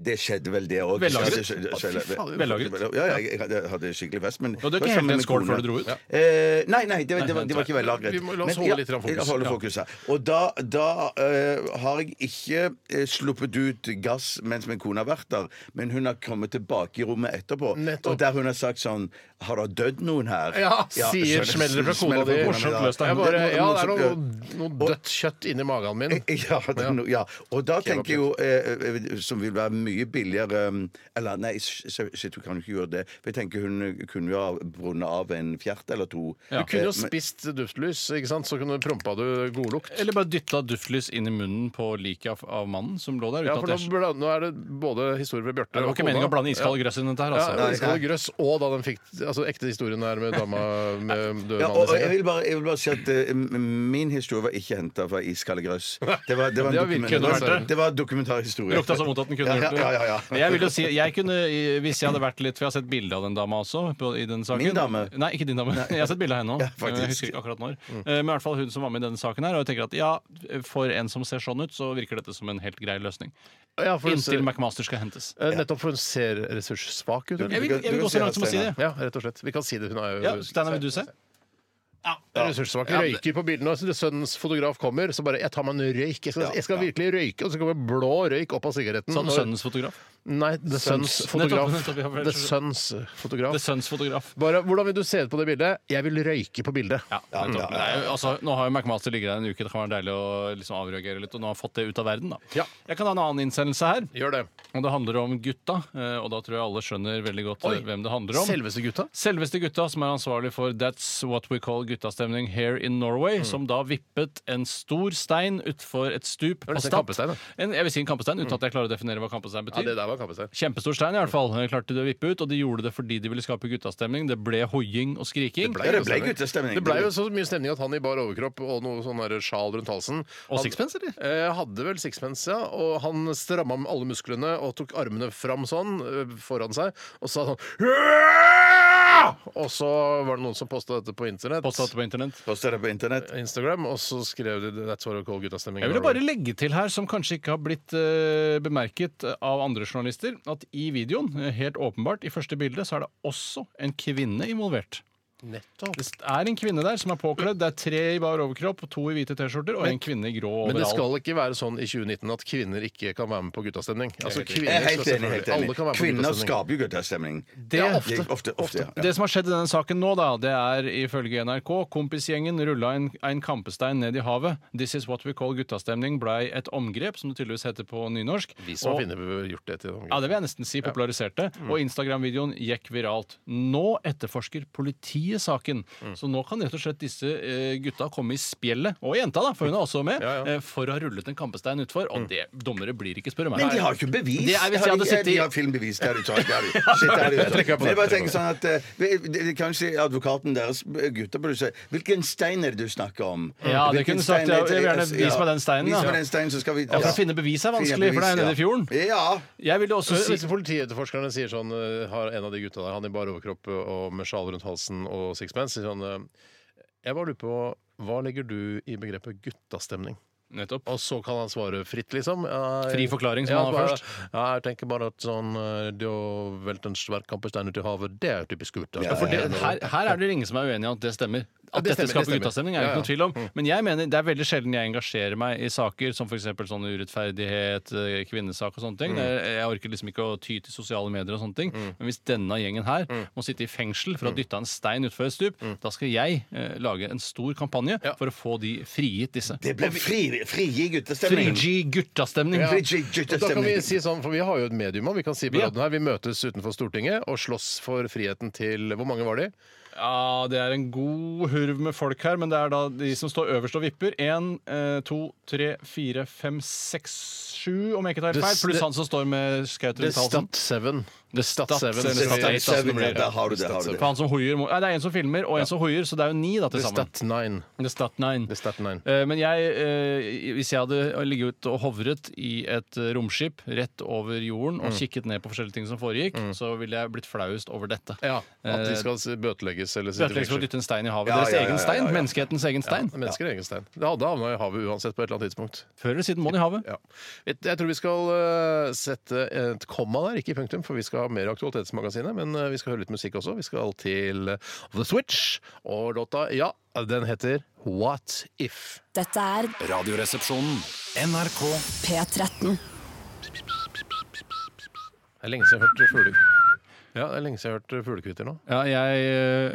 Det skjedde vel, det òg.
Vellagret.
Vellagret.
Vellagret.
Ja, ja, jeg hadde- hadde skikkelig fest. Men
Og du
det var
ikke helt
sammen
en
med
skål
kona.
før du dro ut?
Eh, nei, nei, det, det, var, det var ikke vellagret.
Vi må- la oss
Men
holde litt grann fokus.
Ja, holde
Ja.
fokus her. Og da, da eh, har jeg ikke eh, sluppet ut gass mens min kone har vært der, men hun har kommet tilbake i rommet etterpå,
Nettopp.
og der hun har sagt sånn Har det dødd noen her?
Ja, sier
så-
smeller det fra kona
smeller
di.
fra kona mi da.
løst, da.
Jeg bare, ja, det er noe,
Morsomt,
noe dødt kjøtt inni magen
Eh,
min.
ja, det er no, ja. Og da tenker jeg jo eh, eh, Som vil være mye billigere um, Eller nei, s- s- shit, hun kan jo ikke gjøre det. For jeg tenker hun kunne jo ha brunnet av en fjert eller to.
Du kunne jo
Eh, men-
spist duftlys, ikke sant? så kunne du prompa du godlukt.
Eller bare dytta duftlys inn i munnen på liket av, av mannen som lå der?
Ja,
uten
for
at
nå,
jeg-
bla- nå er det både historier ved Bjarte
det var ikke meningen å blande iskald grøss inn i dette her, altså.
Ja, iskald grøss, og da den fikk altså, ekte historien der med dama med død
Ja,
mann i
og og jeg
sengen.
vil, bare, jeg vil bare si at eh, m- min historie var ikke henta fra iskalde grøss. Det var, det
Det var
var, en
virkelig
dokumen-
kunne vært
det.
det var en dokumentarhistorie.
Lukta så vondt at den kunne
Ja, ja,
gjort det.
ja, ja, ja.
Men Jeg vil jo si, jeg kunne, i- hvis jeg hadde vært litt For jeg har sett bilde av den dama også. På, i den saken.
Min dame?
Nei, ikke din dame. Jeg har sett bilde av henne
Ja,
òg.
faktisk.
jeg husker ikke akkurat når. Eh, Men i hvert fall hun som var med i denne saken her. Og jeg tenker at ja, for en som ser sånn ut, så virker dette som en helt grei løsning.
Ja, for hun
Inntil
ser,
McMaster skal hentes.
eh, nettopp for hun ser ressurssvak ut.
Jeg
Eller?
vil, jeg
du
vil
kan
gå
si
så langt
at
som å si det.
Ja, rett og slett. Vi kan si det. Hun er jo
Ja, Steinar, vil du se?
Ressurssvak. Røyker på bildene. og Sønnens fotograf kommer, så bare 'Jeg tar meg en røyk'. Jeg skal, jeg skal virkelig røyke, og så kommer blå røyk opp av sigaretten.
Sånn
Og-
sønnens fotograf.
Nei, The Sons
Nettopp,
fotograf.
nettopp, ja, vel,
The
så-
Sons fotograf.
The Sons fotograf.
Bare, hvordan vil du se ut på det bildet? Jeg vil røyke på bildet.
Ja, nettopp. Nei, altså, nå har jo McMaster ligget der en uke, det kan være deilig å liksom avreagere litt. Og nå har han fått det ut av verden, da.
Ja.
Jeg kan ha en annen innsendelse her,
Gjør det.
og det handler om gutta. eh, Og da tror jeg alle skjønner veldig godt eh,
Oi.
hvem det handler om.
Selveste gutta.
Selveste gutta som er ansvarlig for That's What We Call guttastemning here in Norway,
Mm.
som da vippet en stor stein utfor et stup
var
på
nesten
Stad.
kampestein, da. Mm.
En, jeg vil si en kampestein, uten at jeg klarer å definere hva kampestein betyr.
Ja, det der var kampestein.
Kjempestor stein, i hvert fall. Klarte de å vippe ut, og de gjorde det fordi de ville skape guttastemning. Det ble hoiing og skriking.
Ja, det ble guttestemning.
Det ble jo så mye stemning at han i bar overkropp og noe sånn der sjal rundt halsen
Og
han-
sixpence, eller?
Eh, hadde vel sixpence, ja. Og han stramma med alle musklene og tok armene fram sånn eh, foran seg og sa sånn «Hurra!» Og så var det noen som posta dette på internett.
Påstått på internett.
Posta det på internett.
Instagram, og så skrev de 'That's what I call guttastemning'.
Jeg ville bare legge til her, som kanskje ikke har blitt eh, bemerket av andre journalister, at i videoen, eh, helt åpenbart, i første bilde, så er det også en kvinne involvert.
Nettopp.
Det er en kvinne der som er påkledd. Det er tre i bar overkropp, to i hvite T-skjorter og en kvinne i grå
Men det
overall.
skal ikke være sånn i 2019 at kvinner ikke kan være med på guttastemning. Altså,
Jeg
kvinner
er helt
skal
enig. helt
selvfølgelig- Alle kan være
enig
med på
Kvinner
guttastemning.
skaper jo guttestemning.
Det er ofte.
Det er ofte, ofte, ja.
Det som har skjedd i denne saken nå, da, det er ifølge NRK kompisgjengen rulla en, en kampestein ned i havet. This is what we call guttastemning blei et omgrep, som det tydeligvis heter på nynorsk.
Vi som har
Og-
funnet på- gjort det til
Ja, det vil jeg nesten si populariserte.
Mm.
Og Instagram-videoen gikk viralt. Nå etterforsker politiet saken.
Mm.
Så nå kan rett og slett disse eh, gutta komme i spjeldet, og jenta, da, for hun er også med,
Ja, Mm. ja.
eh, for å ha rullet en kampestein utfor. Og det dommere blir ikke, spørre meg.
Men de har jo ikke bevis.
Det er hvis jeg
Har
hadde
de-
sittet i-
De har filmbevis. Det er det ikke. Det er det ikke. Shit, det er det
Jeg trekker
ikke.
på
Men jeg bare
det.
tenker sånn at eh, vi- de- de- Kanskje advokaten deres, eh, gutter, burde si Hvilken stein er det du snakker om?
Ja, det
Hvilken
kunne sagt,
stein er
ja, jeg vil gjerne
det- ja,
vise meg den steinen,
Vis
da.
meg den steinen, så skal vi
Ja, for å finne bevis er vanskelig, for det er nede i fjorden.
Ja.
Jeg ville også si
Hvis politietterforskerne sier sånn eh, Har en av de gutta der, han i bar overkropp eh, og med sjal rundt halsen og sixpence, sier sånn eh, Jeg bare lurer på Hva legger du i begrepet guttastemning?
Nettopp.
Og så kan han svare fritt, liksom. Ja, jeg-
Fri forklaring, som
ja,
han har
bare-
først.
Ja, jeg tenker bare at sånn eh, Det å velte en svær kampestein ut i havet, det er typisk gutter.
For det, her, her er det ingen som er uenig i at det stemmer. At
det
dette
stemmer,
skaper
det stemmer.
guttastemning, er det
Ja, Mm. ja.
ikke noe tvil om. Men jeg mener, det er veldig sjelden jeg engasjerer meg i saker som f.eks. sånn urettferdighet, eh, kvinnesak og
Mm.
sånne ting. Det- Jeg orker liksom ikke å ty til sosiale medier og sånne ting. Men hvis denne gjengen her
Mm.
må sitte i fengsel for å ha dytta en stein utfor et stup, da skal jeg eh, lage en stor kampanje
Ja.
for å få de frigitt, disse.
Det ble fri- frigi guttestemning.
Frigi guttastemning.
Ja.
Frigi
Og Da kan vi
guttestemning.
si sånn, for vi har jo et medium og vi kan si på
Ja.
radioen her, vi møtes utenfor Stortinget og slåss for friheten til Hvor mange var de?
Ja, det er en god hurv med folk her, men det er da de som står øverst og vipper. Én, eh, to, tre, fire, fem, seks, sju, om jeg ikke tar helt
Det-
feil. Pluss
det-
han som står med skauter
The
rundt halsen.
Stat Seven.
The Stat Seven,
Seven,
eller
som
Stat
vi-
Eight, da, som det
Guttestemning, ja,
blir.
Der har du det. Har du det.
For han som hoier mot Nei, det er en som filmer, og en som hoier, så det er jo ni da til
The
sammen.
Stat Nine.
The Stat Nine.
The Stat Nine.
Eh, Men jeg, eh, hvis jeg hadde ligget ute og hovret i et eh, romskip rett over jorden
Mm.
og kikket ned på forskjellige ting som foregikk, så ville jeg blitt flauest over dette.
Ja, At de
Eh,
skal s- bøtelegges eller sitte i
Bøtelegg for å
fengsel.
dytte en stein i havet.
Ja,
Deres
ja, ja,
egen
ja,
stein.
ja, ja.
Menneskehetens egen
Ja,
stein.
mennesker er egen stein. Det hadde havna i havet uansett på et eller annet tidspunkt.
Før eller siden må de i havet.
Ja. Jeg jeg tror vi skal eh, sette et komma der, ikke punktum, for vi skal ha mer Aktualitetsmagasinet. Men eh, vi skal høre litt musikk også. Vi skal til eh, The Switch. Og låta, ja, den heter What If.
Dette er
Radioresepsjonen.
NRK
P13.
Det er lenge siden jeg har hørt fugle... Ja, det er lenge siden jeg har hørt fuglekvitter nå.
Ja, jeg,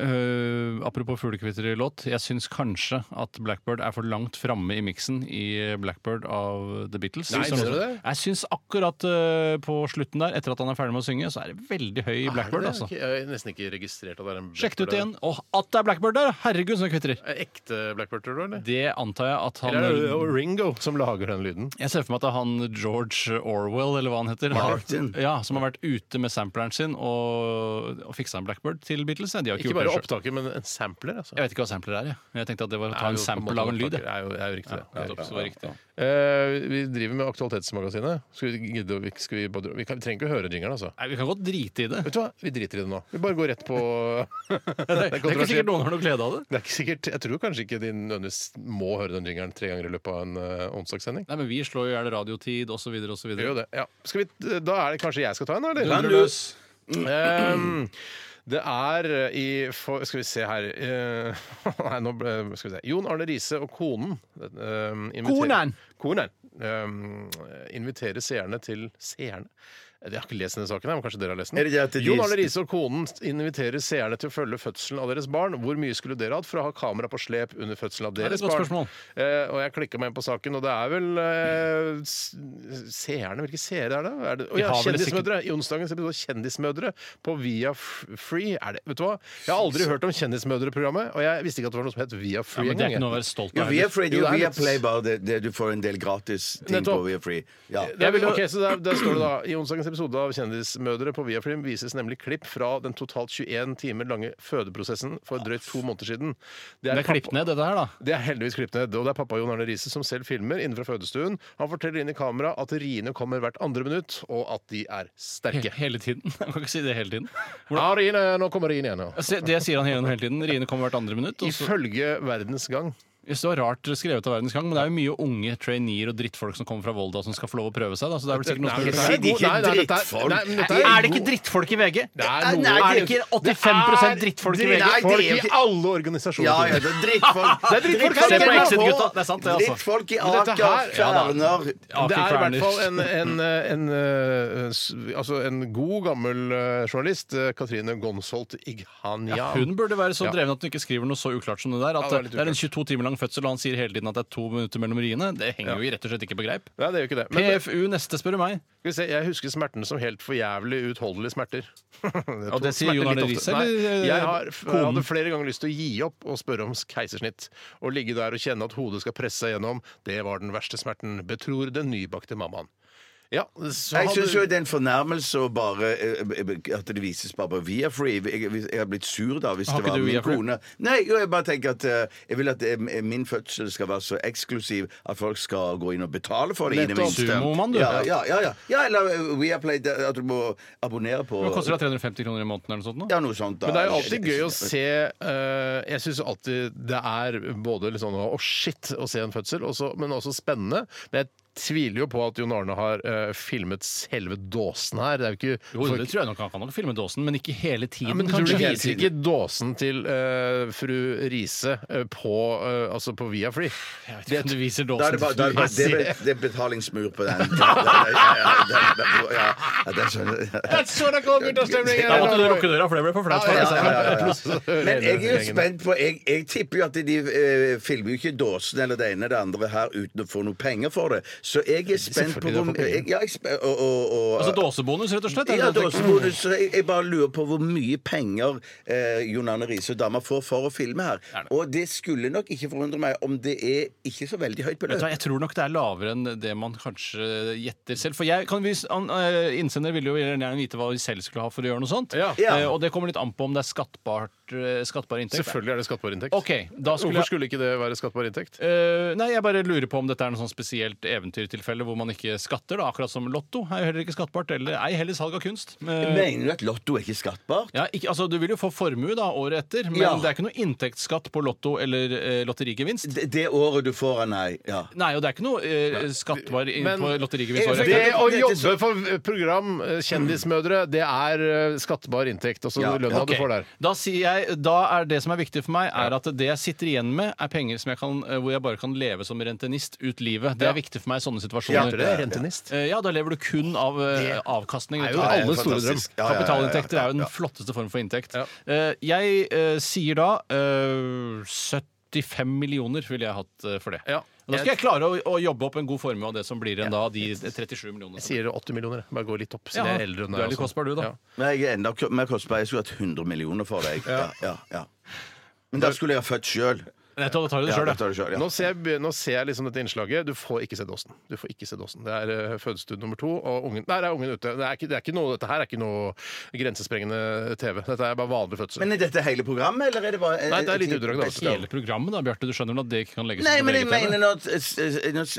øh, Apropos fuglekvitterlåt. Jeg syns kanskje at Blackbird er for langt framme i miksen i Blackbird av The Beatles.
Nei,
Som-
mener du det?
Jeg syns akkurat øh, på slutten der, etter at han er ferdig med å synge, så er det veldig høy i Blackbird.
Er Ah, det det?
altså.
Ikke- Jeg har nesten ikke registrert at det er en
Sjekk det ut
blackbird
igjen. Og at det er Blackbird der! Herregud, som det kvitrer.
der. Er det Ekte blackbird, tror du? Eller?
Det antar jeg at han
Eller er det jo Ringo som lager den lyden?
Jeg ser for meg at det er han George Orwell, eller hva han heter.
Martin.
Han, ja, Som har vært ute med sampleren sin og, og fiksa en Blackbird til Beatles. De har ikke,
Ikke
gjort
bare
det selv.
opptaket, men en sampler, altså.
Jeg vet ikke hva sampler er. Jeg, jeg tenkte at det var å ta en
Er jo på
sample
måte
av en lyd.
opptaker.
jeg.
Er jo, er jo riktig, det.
Ja, nettopp, så det var riktig.
Eh, vi driver med Aktualitetsmagasinet. Skal vi gidde å vi, skal vi, bare, vi, kan, vi trenger ikke å høre jingeren, altså.
Nei, vi kan godt drite i det.
Vet du hva? Vi driter i det nå. Vi bare går rett på Det
Det er ikke
kontroversielt.
sikkert noen har noe glede av det.
Det er ikke sikkert, Jeg tror kanskje ikke de nødvendigvis må høre den jingeren tre ganger i løpet av en eh, onsdagssending.
Nei, men vi slår jo i hjel radiotid osv. osv.
Vi gjør jo det. Ja. Skal vi, da er det kanskje jeg skal ta en, da? eller? Ehm, det er eh, i for, Skal vi se her eh, Nei, nå ble, skal vi se. Jon Arne Riise og konen ehm, inviterer-
Konen!
Konen ehm, inviterer seerne til Seerne? Jeg har ikke lest denne saken, her, men kanskje dere har lest den?
Er det det at de-
Jon Arne Riise og konen inviterer seerne til å følge fødselen av deres barn. Hvor mye skulle dere hatt for å ha kamera på slep under fødselen av
er
deres
et godt
barn?
spørsmål.
Eh, og jeg klikka meg inn på saken, og det er vel eh, s- seerne Hvilke seere er det? Er det å,
Vi
ja,
har vel
kjendismødre. I onsdagens episode Kjendismødre på Via F- Free. Er det, vet du hva? Jeg har aldri hørt om Kjendismødre-programmet, og jeg visste ikke at det var noe som het Via
Ja,
Free
men det er ikke
engang.
noe å være stolt
Jo,
av.
vi er
heller.
free.
Jo,
Det er jo
det er
via
litt-
Play, bare. Det, det, du får en del gratis ting på
Nettopp.
via free. Ja.
Det er,
vil jo-
ok, så der, der står det da I onsdagens episode av Kjendismødre på Viafilm vises nemlig klipp fra den totalt 21 timer lange fødeprosessen for drøyt to måneder siden.
Det er klippet ned, dette her, da.
Det er heldigvis klippet ned. Og det er pappa Jon Arne Riise som selv filmer inne fra fødestuen. Han forteller inn i kamera at riene kommer hvert andre minutt, og at de er sterke.
He hele tiden. Jeg kan ikke si det hele tiden.
Ja, riene, nå kommer riene igjen, ja.
Se, Det sier han hele, hele tiden. Riene kommer hvert andre minutt. og så-
Ifølge Verdens Gang.
Jeg synes Det var rart skrevet av Verdens Gang, men det er jo mye unge traineer og drittfolk som kommer fra Volda som skal få lov å prøve seg. da, så det Er vel sikkert noen som
Nei,
blir
dette
ferdig.
er
de ikke
god- nei, nei, dette
drittfolk?
nei, men dette
Er det
god-
ikke drittfolk i VG?
Det er noe-
nei,
Er det
det er
ikke 85 drittfolk i VG?
Nei, det er
Folk
jo
i
ikke-
alle organisasjoner.
Ja, ja, det er drittfolk.
Det er drittfolk
Se på
her,
Exit-gutta. Det er sant, det, altså.
Drittfolk i
Men dette
Aker,
her- Ja, da.
Ja,
Kværner
Det
fy
er i hvert
faen.
fall en, en, en, eh, s- altså en god, gammel eh, journalist, eh, Katrine Gonsholt Ighanian.
Ja, hun burde være så
Ja.
dreven at hun ikke skriver noe så uklart som det der. At
Ja, det er litt
det er en
uklart.
22 timer lang fødsel, og han sier hele tiden at det er to minutter mellom riene. Det henger jo rett og slett ikke på greip.
Nei, det er jo ikke det. Men
PFU neste, spør du meg.
skal vi se, jeg husker smertene som helt forjævlig uutholdelige smerter.
Og det sier Jon Arne Riise, eller, eh,
eller? Jeg har, f-
konen?
hadde flere ganger lyst til å gi opp og spørre om keisersnitt. Å ligge der og kjenne at hodet skal presse seg gjennom, det var den verste smerten, betror den nybakte mammaen. Ja, så
Jeg
hadde-
syns jo det er en fornærmelse å bare, eh, at det vises bare på Viafree. Jeg, jeg har blitt sur da hvis
Har
det
ikke
var
du
min
Viafree?
kone. Nei, jo, jeg bare tenker at eh, jeg vil at eh, min fødsel skal være så eksklusiv at folk skal gå inn og betale for det. i det
Nettopp.
minste.
Sumomann, du.
Ja, ja, ja, ja. ja eller eh, Viaplay, det- at du må abonnere på
Hva koster det 350 kroner i måneden eller noe sånt? nå?
Ja, noe sånt. Da.
Men det er jo alltid gøy å se eh, Jeg syns alltid det er både litt sånn å shit å se en fødsel, og så- men også spennende. Men jeg tviler jo på at Jon Arne har eh, filmet selve dåsen her. Det er jo ikke
Jo, det tror jeg nok han kan nok filme dåsen, men ikke hele tiden.
ja, men tror du
kanskje.
viser ikke dåsen til eh, fru Riise eh, på, eh, altså på Viafly?
Jeg vet ikke om du viser
Da er
dåsen.
det, bare, da er det, bare, det, er, det er betalingsmur på den. Ja, ja, ja, det skjønner jeg.
sånn det kommer
guttastemning
Da måtte du lukke døra, for det ble for flaut. for deg
Ja, ja,
selv.
ja, ja, ja. Men jeg er jo spent på Jeg, jeg tipper jo at de eh, filmer jo ikke dåsen eller det ene eller det andre her uten å få noe penger for det. Så jeg er spent på
Selvfølgelig de
hvor
får penger.
jeg, ja, jeg er spe- og, og, og,
Altså dåsebonus, rett og slett. er
Ja,
det du tenker?
dåsebonus. Så Jeg, jeg bare lurer på hvor mye penger eh, Jon Arne Riise og dama får for å filme her. Og det skulle nok ikke forundre meg om det er ikke så veldig høyt
Vet du
beløp.
hva, Jeg tror nok det er lavere enn det man kanskje gjetter selv. For jeg, kan vi, an, eh, Innsender ville jo gjerne vite hva de selv skulle ha for å gjøre noe sånt.
Ja.
Ja.
Eh, og det kommer litt an på om det er skattbart, eh, skattbar inntekt.
Selvfølgelig er det skattbar inntekt.
Ok, da skulle
Hvorfor
jeg...
skulle ikke det være skattbar inntekt?
Eh, nei, jeg bare lurer på om dette er noe sånn spesielt eventyrtilfelle hvor man ikke skatter, da, akkurat som Lotto er jo heller ikke skattbart, eller ei heller salg av kunst. Eh,
Mener du at Lotto er ikke skattbart?
ja, ikke, altså, du vil jo få formue da, året etter, men
Ja.
det er ikke noe inntektsskatt på lotto eller eh, lotterigevinst.
Det, det året du får han, nei. Ja.
Nei, og det er ikke noe eh, skattbar inn
Men-
på lotterigevinst
Eh,
året
Det
etter.
å jobbe for program eh, Kjendismødre, det er eh, skattbar inntekt. Altså
Ja,
lønna du
Ok,
får der.
Da, sier jeg, da er det som er viktig for meg, er at det jeg sitter igjen med, er penger som jeg kan, eh, hvor jeg bare kan leve som rentenist ut livet. Det er viktig for meg i sånne
Ja,
situasjoner.
det er rentenist.
Eh, Ja, da lever du kun av eh, avkastning.
er
vet
jo
du.
alle
Det er
store
fantastisk.
drøm. Ja, ja, ja, ja,
Kapitalinntekter er jo
ja,
den
ja.
flotteste form for inntekt.
Ja.
Eh, Jeg eh, sier da eh, 75 millioner ville jeg hatt eh, for det.
Ja.
Og Da skal jeg klare å, å jobbe opp en god formue av det som blir igjen da, de 37 millionene.
Jeg sier 80 millioner. Bare gå litt opp, siden
Ja,
jeg er eldre enn
du er litt
også.
kostbar, du, da.
Men jeg er enda k- mer kostbar. Jeg skulle hatt 100 millioner for deg. Ja, ja, ja. Men da skulle jeg ha født sjøl.
Nei, Da tar du det
Ja,
sjøl,
da tar du selv, ja.
Nå ser, jeg, be- nå ser jeg liksom dette innslaget. Du får ikke se dåsen. Du får ikke se dåsen. Det er eh, fødestue nummer to, og ungen Der er ungen ute. Det er ikke, det er ikke noe, dette her er ikke noe grensesprengende TV. Dette er bare vanlig fødsel.
Men er dette hele programmet, eller er det bare
Nei, det er litt utdrag, da.
Hele programmet, da, Bjarte. Du skjønner vel at det ikke kan legges
Nei,
på
men jeg
VGTV?
mener når, s-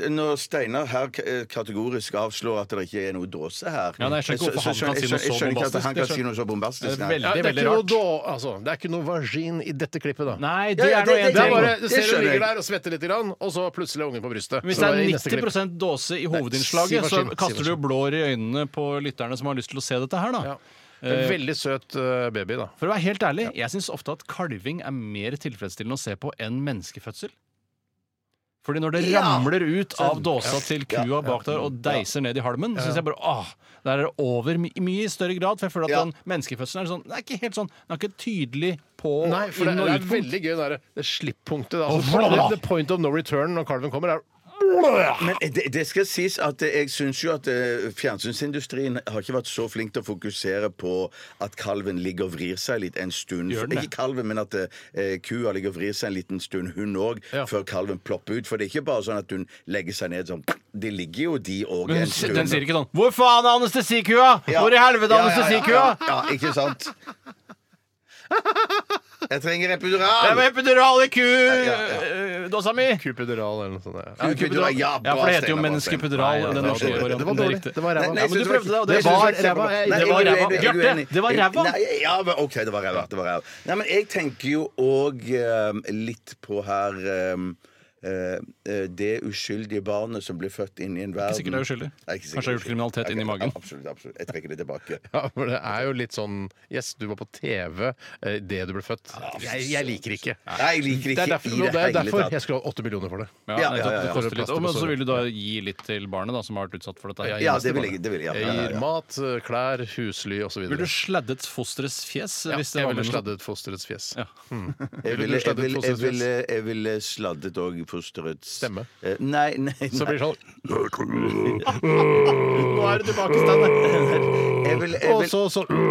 s- når Steinar her k- eh, kategorisk avslår at det ikke er noe dåse her
Ja, nei, jeg skjønner ikke hvorfor han kan si noe
jeg skjønner ikke at
så
han kan si noe så
Det
bombastisk.
er
nei.
veldig-
Ja, det, er
veldig
ikke noe
rart.
da, altså, det er ikke noe vagin i dette klippet, da.
Nei,
Ja,
det
ja,
er noe
det-
jeg
Det er bare,
trenger.
du
Det
ser hun
skjønner jeg.
ligger der og svetter litt, grann, og så plutselig er ungen på brystet.
Hvis det
Så er i
er
neste klipp.
90 dåse i
si
hovedinnslaget,
hva
så
skinn, si
kaster
hva
du jo
skinn.
blår i øynene på lytterne som har lyst til å se dette her, da.
Ja. En veldig søt eh, baby, da.
For å være helt ærlig, jeg syns ofte at kalving er mer tilfredsstillende å se på enn menneskefødsel. Fordi når det ramler ut av dåsa til kua bak der og deiser ned i halmen, så syns jeg bare ah, der er det over my mye i større grad. For jeg føler at
Ja.
den menneskefødselen er sånn Det er ikke helt sånn, den er ikke tydelig på
Nei, for det,
inn- og
det er
utpunkt.
veldig gøy det der- det slippunktet. da.
Åh,
Altså,
bla, bla.
the point of no return når kalven kommer, er
Men eh, det, det skal sies at eh, jeg syns jo at eh, fjernsynsindustrien har ikke vært så flink til å fokusere på at kalven ligger og vrir seg litt en stund.
Gjør den det?
Ikke kalven, men at eh, kua ligger og vrir seg en liten stund, hun òg, før kalven plopper ut. For det er ikke bare sånn at hun legger seg ned sånn Det ligger jo de òg
Men
en
den,
stund.
den sier ikke sånn Hvor faen er anestesikua?!
Ja.
Hvor i helvete
Ja,
er
ja, ja,
anestesikua?!
Ja, ja, ikke sant? Jeg trenger
Det
epidural!
var epidural i ku...
ja,
eh, Dåsa mi!
Kupideral eller noe sånt. ja.
Ja,
Kupidural,
Ja,
ja, bra,
for det heter jo
Steinar, bra,
menneskepidural.
Steinar.
Den
Nei,
norske
nei,
varianten.
Det var dårlig.
riktig.
Det var ræva. Ja,
Nei, nei,
men
jeg
du
synes
prøvde det, og
var-
det
jeg synes
var
det var
ræva.
ræva.
Jeg-
Nei,
det
jeg
var
er
ræva.
uenig, jeg er
Bjarte,
uenig.
det var
Jeg-
ræva.
Nei, ja, men OK, det var ræva. Det var ræva. Nei, men jeg tenker jo òg litt på her ehm, eh, eh, det uskyldige barnet som blir født inn i en verden
sikkert det er uskyldig.
Nei, ikke sikkert
Kanskje det er gjort kriminalitet
Ok,
inn i magen.
Absolutt. absolutt. Jeg trekker det tilbake.
Ja, for det er jo litt sånn Yes, du var på TV eh, det du ble født. Jeg, jeg liker ikke.
Nei, jeg liker
Det
ikke
er derfor,
i det
det er
hele
derfor
tatt.
jeg skulle ha åtte millioner for
Ja,
det.
Ja, ja,
nettopp,
ja,
det
ja.
koster litt.
Plaster på
Og men så
såret.
vil du da gi litt til barnet da, som har vært utsatt for dette. her.
Ja, det vil jeg. Det vil jeg.
Jeg
Ja, ja,
gir
ja.
mat, eh, klær, husly osv.
Vil du sladdet fosterets fjes?
Ja,
hvis det
jeg
var noe
ville
sånt?
sladdet fosterets fjes.
Ja.
Ville
Jeg ville,
du
jeg
sladdet
ville, jeg
fosterets fjes?
ville, jeg ville sladdet òg fosterets
Stemme?
Eh, Nei, nei. nei.
Så blir det sånn
Nå er du tilbake, Steinar.
Jeg ville, jeg
Og
ville,
så sånn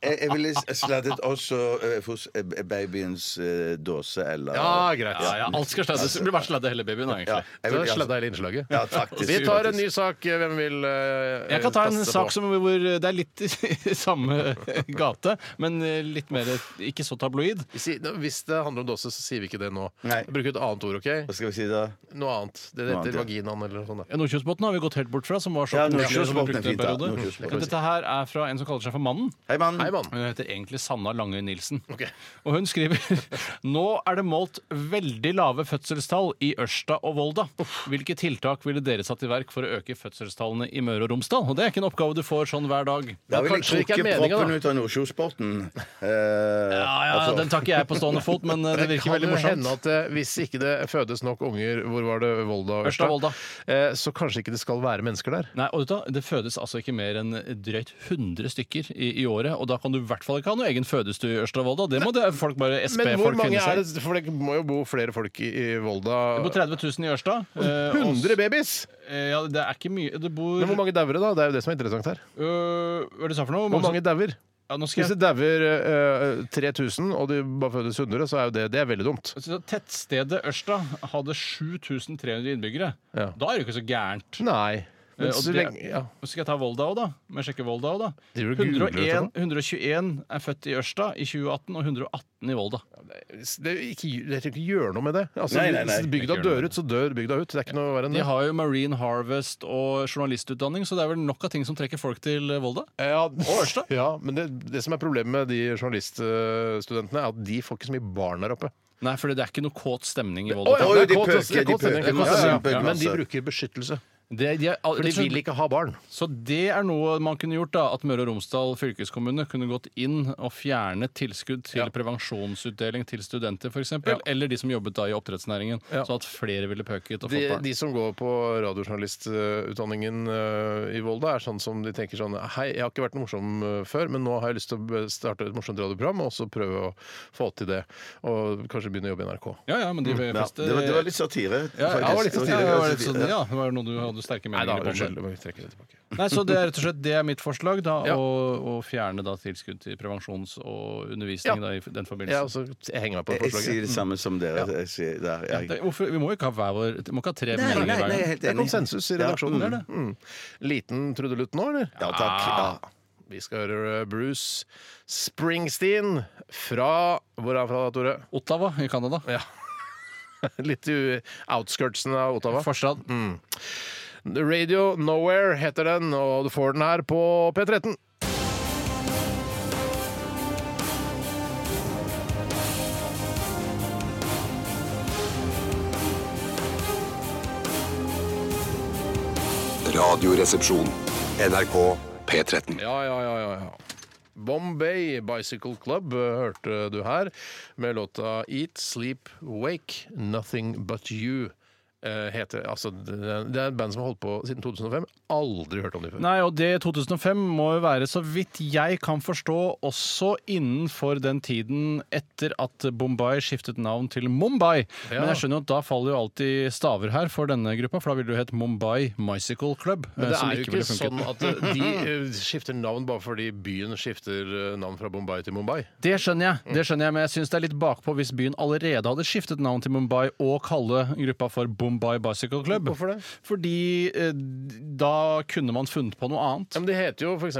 jeg, jeg ville sladdet også eh, fos, eh, babyens eh, dåse eller
Ja, greit.
Ja, ja, alt skal sladdes. Det blir bare sladde hele babyen, da,
Ja,
egentlig.
jeg
Så
ville-
sladda hele innslaget.
Ja, faktisk.
Vi tar en ny sak. Hvem vil eh,
Jeg kan ta en
kaste
sak
på?
som, hvor det er litt i samme gate, men litt mer ikke så tabloid.
Vi sier- nå, Hvis det handler om dåse, så sier vi ikke det nå.
Nei.
Bruk et annet ord, OK?
Hva skal vi si da?
Noe annet. Det
Noe annet,
heter
ja.
vaginaen eller noe sånt. da.
Nordkjosbotn har vi gått helt bort fra, som var så
Ja,
populært,
Nordkjosbotn
som vi
er
brukte en
fint, ja.
periode.
Nordkjosbotn.
Men Dette her er fra en som kaller seg for Mannen.
Hei, mann.
Hei, Hei, mann.
Hun heter egentlig Sanna Langøy Nilsen.
Ok.
Og hun skriver Nå er det målt veldig lave fødselstall i Ørsta og Volda. Hvilke tiltak ville dere satt i verk for å øke fødselstallene i Møre og Romsdal? Og det er ikke en oppgave du får sånn hver dag.
Da vil jeg
kanskje det ikke er
trukke
meningen,
proppen
da.
ut av Nordsjøsporten. Eh,
Ja, ja,
altså,
Den tar ikke jeg på stående fot, men eh, det virker
kan
veldig
jo hende
morsomt.
at eh, hvis ikke det fødes nok unger Hvor var det? Volda?
Ørsta, Volda.
eh, Så kanskje ikke det skal være mennesker der.
Nei, og vet du, hva? Det fødes altså ikke mer enn drøyt 100 stykker i, i året, og da kan du i hvert fall ikke ha noe egen fødestue i Ørsta og Volda. Det må det folk bare
Men hvor
SB-folk
mange
finne
er
seg i.
det? For det må jo bo flere folk i, i
Det bor
Volda.
30 000 i Ørsta. eh, og-
100 babies!
eh, Ja, det er ikke mye. Det bor
Men hvor mange dauer det, da? Det er jo det som er interessant her.
Øh, Hva er det du sa for noe?
Hvor mange dauer?
ja, nå skal
Hvis
jeg...
det dauer eh, 3000, og de bare fødes 100, så er jo det, det er veldig dumt.
Så Tettstedet Ørsta hadde 7300 innbyggere.
Ja.
Da er det jo ikke så gærent.
Nei. Men
Eh, og
så
det-
lenge ja.
Og Så skal jeg ta Volda òg, da. Må jeg sjekke Volda også, da.
Driver du og googler
101,
dette
121 er født i Ørsta i 2018, og 118 i Volda.
det, er ikke, det er ikke gjør noe med det. Altså,
Nei, nei, nei.
Hvis bygda
Ikke gjør noe.
dør ut, så dør bygda ut. Det er ikke noe verre enn
De
det.
har jo Marine Harvest og journalistutdanning, så det er vel nok av ting som trekker folk til eh, Volda.
Eh, Ja,
Ørsta.
ja, men det, det som er problemet med de journaliststudentene, er at de får ikke så mye barn der oppe.
Nei, for det er ikke noe kåt stemning i
Å,
Volda.
ja,
Oi,
det er
de
kåt,
pøker,
altså, det er
de
kåt stemning.
pøker
Ja, ja,
masse,
ja.
pøker
Men de
masse.
bruker beskyttelse.
Det, de er,
For de vil ikke ha barn.
Så det er noe man kunne gjort, da. At Møre og Romsdal fylkeskommune kunne gått inn og fjernet tilskudd til prevensjonsutdeling til studenter, f.eks. eksempel Eller de som jobbet da i oppdrettsnæringen.
Ja.
Så at flere ville pøket og
De,
fått barn.
de som går på radiojournalistutdanningen eh, i Volda, er sånn som de tenker sånn Hei, jeg har ikke vært noe morsom eh, før, men nå har jeg lyst til å starte et morsomt radioprogram, og så prøve å få til det. Og kanskje begynne å jobbe i NRK.
Ja, Mm. ja, men de vil
Ja,
feste
det, var, det var litt satire.
ja, ja, det var litt
faktisk.
sånn, ja, det var litt sånn, ja, det var noe du hadde sterke
Nei da,
meninger om.
unnskyld.
der.
må vi trekke det tilbake.
Nei, så det er rett og slett det er mitt forslag, da.
Ja.
Å, å fjerne da tilskudd til prevensjons- og
Ja.
undervisning da, i den
Ja, og
altså,
forbindelse.
så henger jeg på
Jeg
forslaget.
sier det samme som dere. Jeg sier, der, ja.
Det, hvorfor, vi må jo ikke ha hver vår Vi må ikke ha tre
Nei,
meninger hver
nei, nei, jeg er
gang.
helt
Det er
enig.
konsensus i redaksjonen.
det er
Mm. Liten trudelutt nå, eller?
Ja, takk. Ja.
Vi skal høre uh, Bruce Springsteen fra Hvor er han fra, Tore?
Ottawa i Canada.
Ja. Litt i outskirtsen av Ottawa.
Forstad.
Mm.
Radio Nowhere heter den, og du får den her på P13.
Radioresepsjon. NRK P13.
Ja, ja, ja, ja, ja. Bombay Bicycle Club eh, hørte du her med låta Eat, Sleep, Wake, Nothing But You. eh, Heter, altså, det det er et band som har holdt på siden 2005. Aldri hørt om dem før.
Nei, og det 2005 må jo være, så vidt jeg kan forstå, også innenfor den tiden etter at Bombay skiftet navn til Mumbai.
Ja.
Men jeg skjønner jo at da faller jo alltid staver her for denne gruppa, for da ville det jo hett Mumbai Mycicle Club. eh,
Men det
som
er jo ikke
ville funket.
sånn at eh, de eh, skifter navn bare fordi byen skifter eh, navn fra Bombay til Mumbai.
Det skjønner jeg, det skjønner jeg, men jeg syns det er litt bakpå hvis byen allerede hadde skiftet navn til Mumbai og kalle gruppa for Bombay Bicycle Club.
Hvorfor det?
Fordi eh, da kunne man funnet på noe annet.
Ja, men de heter jo f.eks.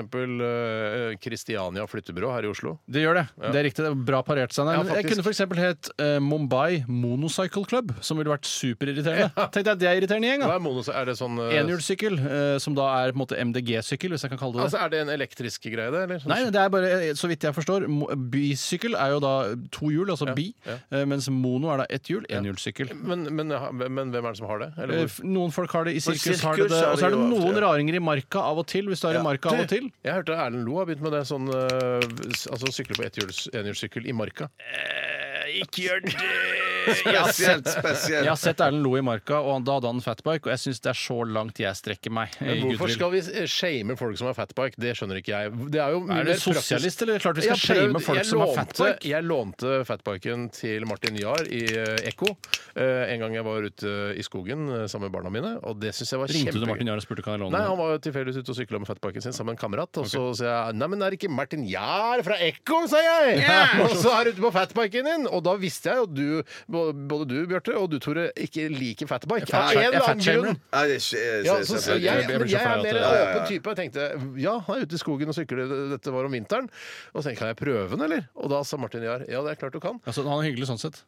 Kristiania Flyttebyrå her i Oslo.
Det gjør det. Det er riktig. det er Bra parert, Steinar.
Ja,
Men jeg kunne
faktisk.
f.eks. hett eh, Mumbai Monocycle Club, som ville vært superirriterende. Tenk deg at det er irriterende gjeng,
Hva
da.
er, monos, er det sånn eh,
Enhjulssykkel, eh, som da er på en måte MDG-sykkel, hvis jeg kan kalle det det.
Altså, Er det en elektrisk greie, det? Eller?
Nei, det er bare, eh, så vidt jeg forstår, mo- bisykkel er jo da to hjul, altså bi, eh, mens mono er da ett hjul, enhjulssykkel.
Men, men, men hvem er det som har det? Eller
Eh,
hvor?
f- Noen folk har det i sirkus,
sirkus
har det det, og
har
så er
de
det
jo ofte,
noen
ja.
raringer i marka av og til, hvis du er i marka av og til.
Jeg hørte Erlend Lo har begynt med det. Sånn, eh, s- altså sykle på ethjuls- enhjulssykkel i marka.
Ikke gjør det!
Spesielt,
Jeg har
spesielt.
sett Erlend Lo i marka, og han- da hadde han fatbike, og jeg syns det er så langt jeg strekker meg. i
Men hvorfor
goodwill.
skal vi eh, shame folk som har fatbike? Det skjønner ikke jeg. Det er jo mye
Er du
mer praktisk.
sosialist, eller? Klart vi
Jeg
skal
har
shame
prøvd-
folk
jeg
som har
lånte-
fatbike.
Jeg lånte fatbiken til Martin Jahr i eh, Ekko eh, en gang jeg var ute i skogen eh, sammen med barna mine, og det syns jeg var
Ringte du Martin
kjempegøy.
Jahr og spurte kan jeg låne
Nei,
den?
Han var jo tilfeldigvis ute og sykla med fatbiken sin sammen med en kamerat. Og så sa jeg nei, men er det ikke Martin Jahr fra Ekko, sa jeg! Og så er du ute på fatbiken din! Og da visste jeg jo at du, både du Bjørte og du Tore, ikke liker fatbike. Av
Fatshamer-
en eller
jeg
annen
fatshamer.
grunn.
Ja, det er ikke- eh,
Ja, så, så, jeg,
selvfølgelig.
jeg
men
blir så
jeg
flau
er
at
mer
det-
en
Ja,
åpen type. Jeg tenkte ja, han er ute i skogen og sykler, dette var om vinteren. Og så tenkte jeg kan jeg prøve den, eller? Og da sa Martin Jahr ja, det er klart du kan.
Altså, han er hyggelig sånn sett.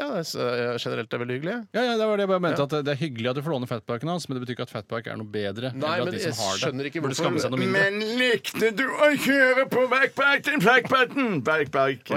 Ja, det er, generelt er veldig hyggelig.
Ja, ja, det var det jeg bare mente at det er hyggelig at du får låne fatpacken hans, men det betyr ikke at fatpack er noe bedre.
Nei,
eller at
men
de
jeg
som har det
skjønner ikke
burde skamme
hvorfor-
seg noe mindre.
Men likte du å kjøre på backbiken, backbiken, backbiken,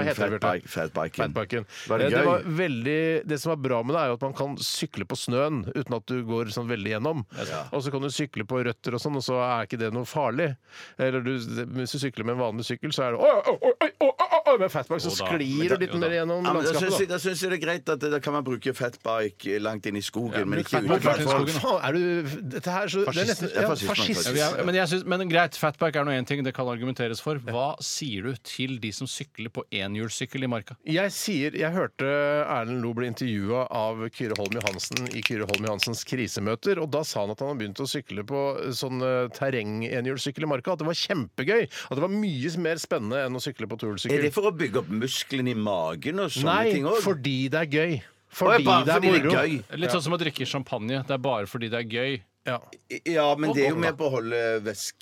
Hva heter det, Bjarte?
fatbike, fatbiken?
Fatbiken.
Var det
Eh, det,
gøy?
var veldig, det som er bra med det, er jo at man kan sykle på snøen uten at du går sånn veldig gjennom. Og så kan du sykle på røtter og sånn, og så er ikke det noe farlig. Eller du, hvis du sykler med en vanlig sykkel, så er det Oi, oi, oi, oi, oi, oi, Med fatbike så
Jo da.
sklir
Men
du
da-
litt
jo da.
mer gjennom
Ja, men da syns jeg,
landskapet. Da.
da synes jeg det er greit at det, da kan man bruke fatbike langt inn i skogen, men
Bruk
ikke
fatbike
utenfor.
i skogen. Faen, er du Dette her så det er nesten,
Fascist. Ja, fascist, man,
fascist.
Ja, vi er, men, jeg synes, men greit, fatback er nå én ting, det kan argumenteres for. Hva sier du til de som sykler på enhjulssykkel i marka?
Jeg sier, jeg hørte Erlend Loe bli intervjua av Kyrre Holm Johansen i Kyrre Holm Johansens krisemøter. og Da sa han at han har begynt å sykle på sånn eh, terrengenhjulssykkel i marka. At det var kjempegøy! At det var mye mer spennende enn å sykle på
Er
tursykkel.
det for å bygge opp musklene i magen og sånne
Nei,
ting òg?
fordi det er gøy.
Å,
Fordi
ja, bare
det er
fordi det
moro.
er gøy.
Litt sånn som å drikke champagne. Det er bare fordi det er gøy.
Ja.
Ja, men det er jo med på å holde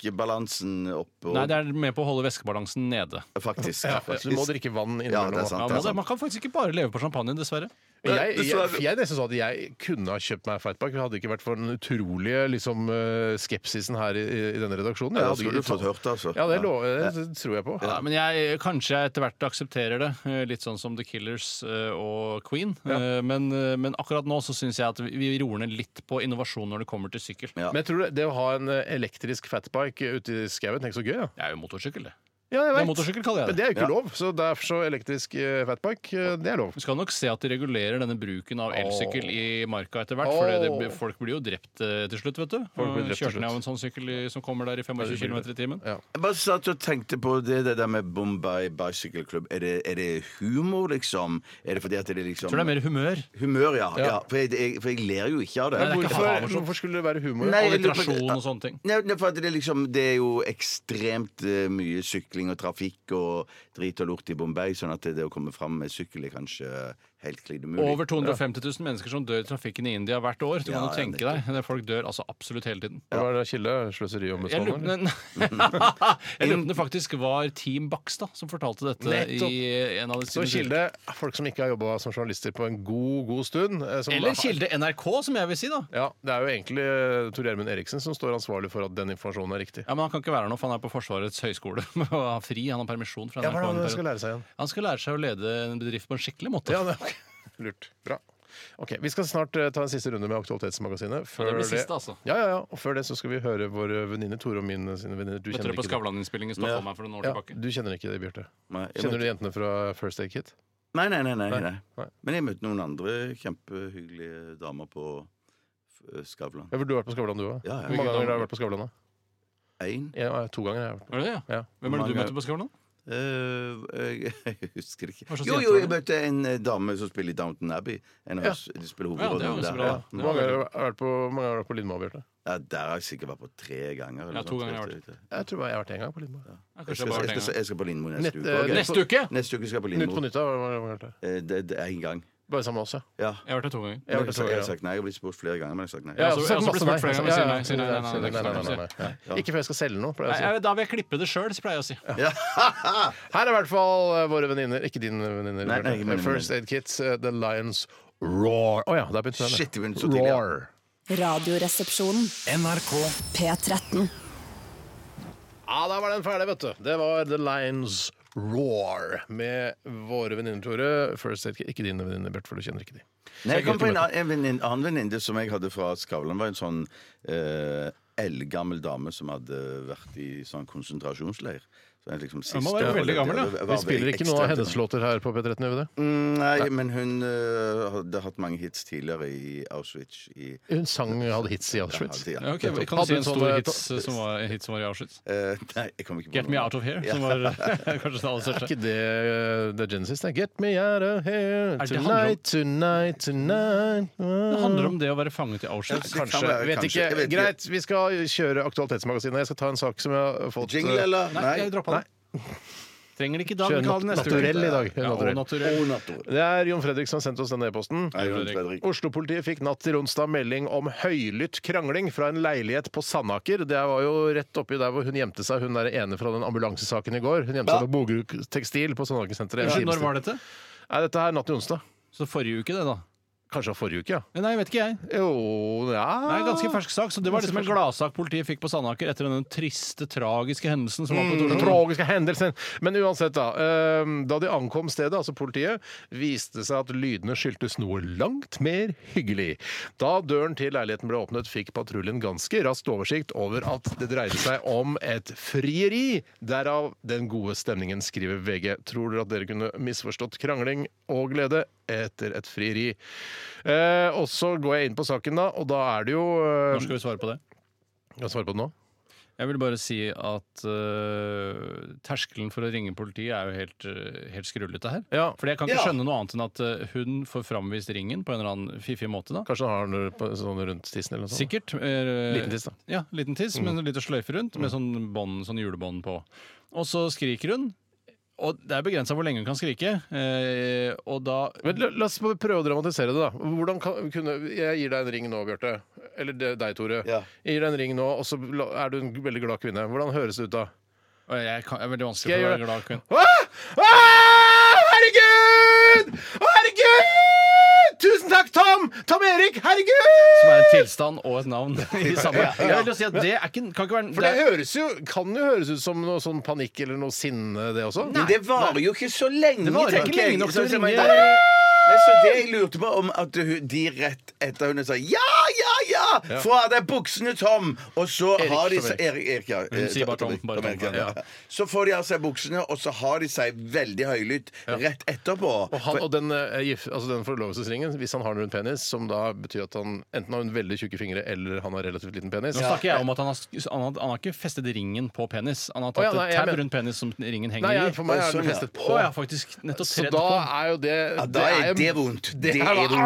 væskebalansen oppe, og,
Nei, det er med på å holde væskebalansen nede.
faktisk.
Ja,
faktisk.
så du må drikke vann
Ja, det
innimellom.
er sant.
Ja,
det
man,
er sant.
man kan faktisk ikke bare leve på champagne, dessverre.
Jeg, jeg,
Dessverre.
jeg, er nesten sånn at jeg kunne ha kjøpt meg Fightback. Hadde det ikke vært for den utrolige liksom, eh, skepsisen her i, i denne redaksjonen. Jeg
Ja,
hadde
skulle du
ikke-
fått hørt det, altså.
Ja, det, lov, det tror jeg på.
Ja, men jeg, kanskje jeg etter hvert aksepterer det. eh, Litt sånn som The Killers eh, og Queen. Eh, Men, eh, men akkurat nå så syns jeg at vi vi roer ned litt på innovasjon når det kommer til sykkel.
Ja.
Men jeg tror det, det å ha en eh, elektrisk fatbike ute i skauen, tenk så gøy, ja.
Det er jo motorsykkel, det.
ja jeg
Det er
vet.
motorsykkel, kaller jeg
Men
det.
det er jo ikke lov, så derfor så elektrisk eh, fatbike, eh, det er lov.
Vi skal nok se at de regulerer denne bruken av elsykkel i marka etter hvert.
Åh.
For det, blir- folk blir jo drept eh, til slutt, vet du.
Folk blir drept til
Kjørte ned av
slutt.
en sånn sykkel i, som kommer der i 25 km i timen.
Ja.
Jeg bare satt og tenkte på det, det der med Bombay Bicycle Club. Er det, er det humor, liksom? Er det fordi at det er liksom
Jeg tror det er mer humør.
Humør, ja. ja. for, jeg, jeg, for jeg ler jo ikke av det.
Nei, det er ikke
Hvorfor,
Hamarsen.
hvorfor skulle det være humor?
Nei, jeg lurer på-
Alliterasjon og sånne ting.
Nei, nei, for at det, er liksom, det er jo ekstremt eh, mye sykling og trafikk og drit og lort i Bombay, sånn at det, det å komme fram med sykkel er kanskje helt klin umulig.
Over 250 000 mennesker som dør i trafikken i India hvert år. Du kan
Ja,
jo
ja,
tenke deg. Det er Folk dør altså absolutt hele tiden.
Det var det Kilde,
Jeg lurer
sløseriombudsmannen. eller?
jeg lurer på om det faktisk var Team Bakstad som fortalte dette
Nettopp.
i en av de
Så Kilde, folk som ikke har jobba som journalister på en god, god stund eh, som
Eller Kilde NRK, som jeg vil si, da.
Ja, Det er jo egentlig eh, Tor Gjermund Eriksen som står ansvarlig for at den informasjonen er riktig.
Ja, men Han kan ikke være her nå, for han er på Forsvarets høgskole og har fri. Han har permisjon fra
Ja,
NRK.
hva er det
en
han skal
periode.
lære seg igjen?
han skal lære seg å lede en bedrift på en skikkelig måte.
Ja, det, ok. Lurt. Bra. Ok, Vi skal snart eh, ta en siste runde med Aktualitetsmagasinet. Før
blir siste, altså.
Ja, ja, ja. Og før det så skal vi høre vår venninne Tore og min eh, sine venninner. Du
Dette
kjenner
er på
ikke det.
Skavlan-innspilling i Stockholm her for noen år
Ja,
tilbake.
du kjenner ikke det, Bjarte.
Nei, jeg
Kjenner
møtte-
du jentene fra First Aid Kit?
Nei, nei, nei, nei, nei.
nei.
Men jeg møtte noen andre kjempehyggelige damer på eh, Skavlan.
Ja, for du har vært på Skavlan, du òg?
Ja, ja.
Hvor mange ganger har du vært på Skavlan? da?
Én
Ja, ja, to ganger. har jeg vært på.
Var det det, ja?
Ja.
Hvem var det du
Mange-
møtte på Skavlan?
Eh, jeg, jeg husker ikke.
Hva slags
Jo,
jente
jo,
var
jeg
det?
møtte en eh, dame som spiller i Downton Abbey. En av
Ja.
oss, de spiller
Ja, det er jo
hovedrollen
så
der.
bra,
Ja.
da.
Hvor mange ganger har du vært på, hvor mange ganger har du vært på Lindmo, Bjarte?
Ja, der har jeg sikkert vært på tre ganger. eller
Ja,
noe
to
sånt,
ganger har
vet
jeg
du.
Jeg tror bare jeg har vært én gang på Lindmo.
Ja, kanskje
Jeg
det bare
skal, jeg,
var
skal,
den gangen.
jeg skal på Lindmo neste
Nett-
uke.
eh,
også.
Neste uke!
Neste uke skal jeg på
Nytt på
Lindmo.
nytt, da? hvor mange ganger har du vært der?
Eh, Det det er én gang.
Bare sammen med oss, ja.
Ja.
Jeg har vært der to ganger.
Jeg har
Jeg
vært der to
har
ganger, ja. altså,
sagt nei. Jeg har blitt spurt flere ganger, men jeg har sagt nei.
Ja,
Jeg har
så-
også
jeg har
sagt
også blitt
masse
spurt flere
nei.
ganger,
Ja,
sier nei, nei,
ja,
nei, det er ikke
nei,
sånn
nei,
å
nei, nei, nei. Ikke før jeg skal selge noe. pleier jeg å
Nei,
si.
jeg- Da vil jeg klippe det sjøl, pleier jeg å si.
Her er i hvert fall eh, våre venninner Ikke dine venninner.
Nei, nei, ikke mine
First Aid Kids, eh, The Lions Roar. Å ja, der begynte den. ja.
Shit, det begynte så tidlig, ja.
Roar.
Radioresepsjonen.
NRK
P13.
Ja, da var den ferdig, vet du. Det var The Lions Roar med våre venninner, Tore. First Aid Kids. Ikke dine venninner, Bjørt, for du kjenner ikke de.
Nei, jeg kom på en annen en venninne- annen venninne som jeg hadde fra Skavlan. var en sånn eh, eldgammel dame som hadde vært i sånn konsentrasjonsleir. Så jeg liksom siste
må være
overlevde.
veldig gammel, da.
Det var-
Vi
var
spiller
veldig
ikke noen av
ekstremt.
hennes låter her på P13, gjør vi det?
Mm, Nei, men hun eh, hadde hatt mange hits tidligere i Auschwitz. I,
Hun sang hadde hits i Auschwitz.
Ja,
Ja,
hadde,
ok, Kan du
ja.
si en
Hadde en
stor
sånn,
hit
eh,
som var, en hit som var i Auschwitz?
Eh, nei, jeg kom ikke på
Get Me Out of Here, som var kanskje den aller
Er
største.
ikke det eh, The Genesis? Det er Get me out of here
det
tonight, tonight, tonight
Det handler om det å være fanget i Auschwitz.
Ja, det kan
Kanskje.
være,
vet
kanskje.
ikke.
Jeg vet ikke.
Greit, vi skal kjøre Aktualitetsmagasinet. Jeg skal ta en sak som jeg har fått
Jingle,
eh,
eller?
Nei, jeg droppa det. Trenger det ikke i dag.
Kjøre
Vi kan ha det neste uke.
naturell i dag.
Ja, og
Naturell.
naturell.
Oh, Nato.
Det er Jon Fredrik som har sendt oss denne e-posten.
Nei, Jon Fredrik.
Oslo-politiet fikk natt til onsdag melding om høylytt krangling fra en leilighet på Sandaker. Det var jo rett oppi der hvor hun gjemte seg, hun der ene fra den ambulansesaken i går. Hun gjemte seg på Bogerud tekstil på Sandaker-senteret.
Unnskyld, når var dette?
Nei, dette er natt til onsdag.
Så forrige uke, det, da.
Kanskje av forrige uke, ja.
Nei, vet ikke jeg.
Jo, ja
Det er en ganske fersk sak, så det var
Ganske
liksom en
fersk.
gladsak politiet fikk på Sandaker etter den triste, tragiske hendelsen som var på
Den
Torshov.
tragiske hendelsen. Men uansett, da. eh, Da de ankom stedet, altså politiet, viste det seg at lydene skyldtes noe langt mer hyggelig. Da døren til leiligheten ble åpnet, fikk patruljen ganske raskt oversikt over at det dreide seg om et frieri. Derav den gode stemningen, skriver VG. Tror dere at dere kunne misforstått krangling og glede? Etter et frieri. Eh, og så går jeg inn på saken, da, og da er det jo eh,
Når skal vi svare på det?
Skal jeg svare på det nå?
Jeg vil bare si at øh, terskelen for å ringe politiet er jo helt, øh, helt skrullete her.
Ja.
Fordi jeg kan ikke
Ja.
skjønne noe annet enn at øh, hun får framvist ringen på en eller annen fiffig måte. da.
Kanskje han har den på- sånn rundt tissen eller noe sånt?
Sikkert. eh,
Liten tiss, da. Mm.
Ja, liten tiss, med en liten sløyfe rundt, med sånn, bånd, sånn julebånd på. Og så skriker hun. Og det er begrensa hvor lenge hun kan skrike. eh, og da
Men la, la oss bare prøve å dramatisere det, da. Hvordan kan, kunne, jeg gir deg en ring nå, Bjarte. Eller det- deg, Tore.
Ja.
Jeg gir deg en ring nå, og så la- er du en veldig glad kvinne. Hvordan høres det ut da?
Å, jeg kan, Det er veldig vanskelig
Skal jeg
for å
gjøre
være glad. Kvinn.
Ah! Ah! Herregud! Å, herregud! Tusen takk, Tom! Tom Erik,
Som er en
herregud!
tilstand og et navn i samme. Jeg vil jo si at det er ikke, kan ikke være
For det høres jo, kan jo høres ut som noe sånn panikk eller noe sinne, det også.
Men det varer jo ikke så lenge,
Det varer
tenker
ikke
jeg.
lenge nok til
Så-
å
så-
ringe-
men- Nei, så det jeg lurte på om at hun, de rett etter hun sa ja, ja, ja, få av deg buksene, Tom! Og så
Erik,
har de
Tom
seg Erik, Erik, ja. Eh,
sier bare Tom, bare
Erik,
Tom,
ja.
ja.
Så får de av seg buksene, og så har de seg veldig høylytt rett etterpå.
Og, han,
For-
og den, eh, gif- altså den forlovelsesringen, hvis han har den rundt penis, som da betyr at han enten har en veldig tjukke fingre eller han har relativt liten penis
Nå snakker jeg om at han har, sk- han har, han har ikke festet ringen på penis. Han har tatt
Å, ja, nei,
et
jeg
tab
mener-
rundt penis som ringen henger
Nei,
i.
jeg, for meg er
Sånn,
den
ja.
festet på.
Å ja, faktisk. Nettopp
Så
tredd
da
på.
er jo det
ja, da er
jo-
det vondt. Det
er
er
bare-
vondt.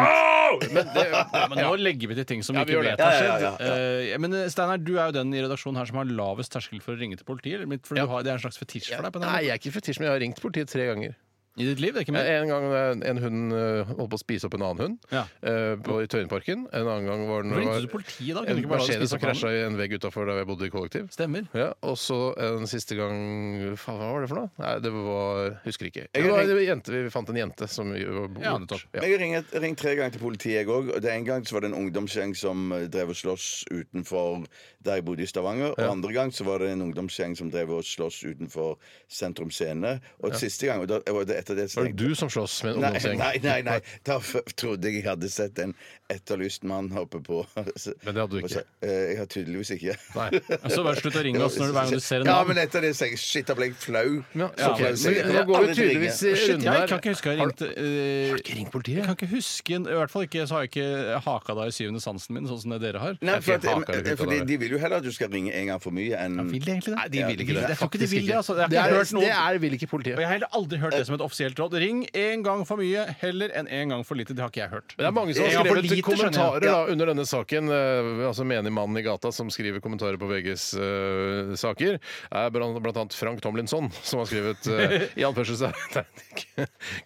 Men det,
Ja, men nå legger vi til ting som vi
Ja, vi
ikke
gjør det.
vet har
Ja, ja,
skjedd.
ja, ja.
Eh, men eh, Steinar, du er jo den i redaksjonen her som har lavest terskel for å ringe til politiet. eller? For
Ja.
du har, det er en slags fetisj for deg på den
nei,
måten.
jeg er ikke fetisj, men jeg har ringt politiet tre ganger.
i ditt liv? Det er ikke mer.
En gang eh, en hund eh, holdt på å spise opp en annen hund
Ja.
eh, på, i Tøyenparken. En annen gang var den
Hvorfor ringte
var-
du til politiet da? Kunne du
En
ikke bare la det
Mercedes
spise
som
opp
krasja i en vegg utafor der jeg bodde i kollektiv.
Stemmer.
Ja, og så en siste gang Faen, hva var det for noe? Nei, det var Husker ikke.
Jeg
Det var,
ring-
det var en jente, vi fant en jente som var
Ja,
borte.
nettopp.
Ja.
Jeg har ringt, ringt tre ganger til politiet, jeg òg. Og det en gang så var det en ungdomsgjeng som eh, drev og sloss utenfor der jeg bodde i Stavanger. Og andre gang så var det en ungdomsgjeng som drev og sloss utenfor Sentrum Scene. Og siste gang og da, og det, etter det så
Var det
tenkte-
du som slåss med en
Nei,
ungdomsgjeng?
nei, nei, nei. Da f trodde jeg jeg hadde sett en etterlyst mann hoppe på.
Men det hadde du ikke.
Og så- eh, Jeg har tydeligvis ikke.
Nei.
Så bare slutt å ringe oss når du, hver gang du ser en
Ja,
navn.
men etter det så jeg, shit, da ble jeg flau.
Ja,
Så
ok.
flau, så jeg-
Men Nå går vi
Aldri til å ringe.
tydeligvis i
Shit,
runden
jeg
her.
kan ikke huske jeg
Har-
ringte eh,
Har du ikke ringt politiet?
Jeg kan ikke huske I hvert fall ikke, så har jeg ikke haka deg i syvende sansen min, sånn som det dere har.
Nei, for
Jeg haker det ut av
at, eh, fordi
deg.
de vil jo heller at du skal ringe en gang for mye enn
Vil de egentlig det?
eh, Nei, de vil ikke
Jeg tror ikke
det.
de
Faktisk
vil det.
ikke.
Altså. Jeg
Det
har
er,
ikke hørt
det
noen
er, vil ikke
og
politiet.
jeg har heller aldri hørt det som et offisielt råd. Ring én gang for mye heller enn én gang for lite. Det har ikke jeg hørt.
Det er mange som har
Ja, for
skrevet
lite, skjønner jeg.
kommentarer da, under denne saken. eh, altså Menig mannen i gata som skriver kommentarer på VGs eh, saker, er blant, blant annet Frank Tomlinson, som har skrevet eh, i anførselstegn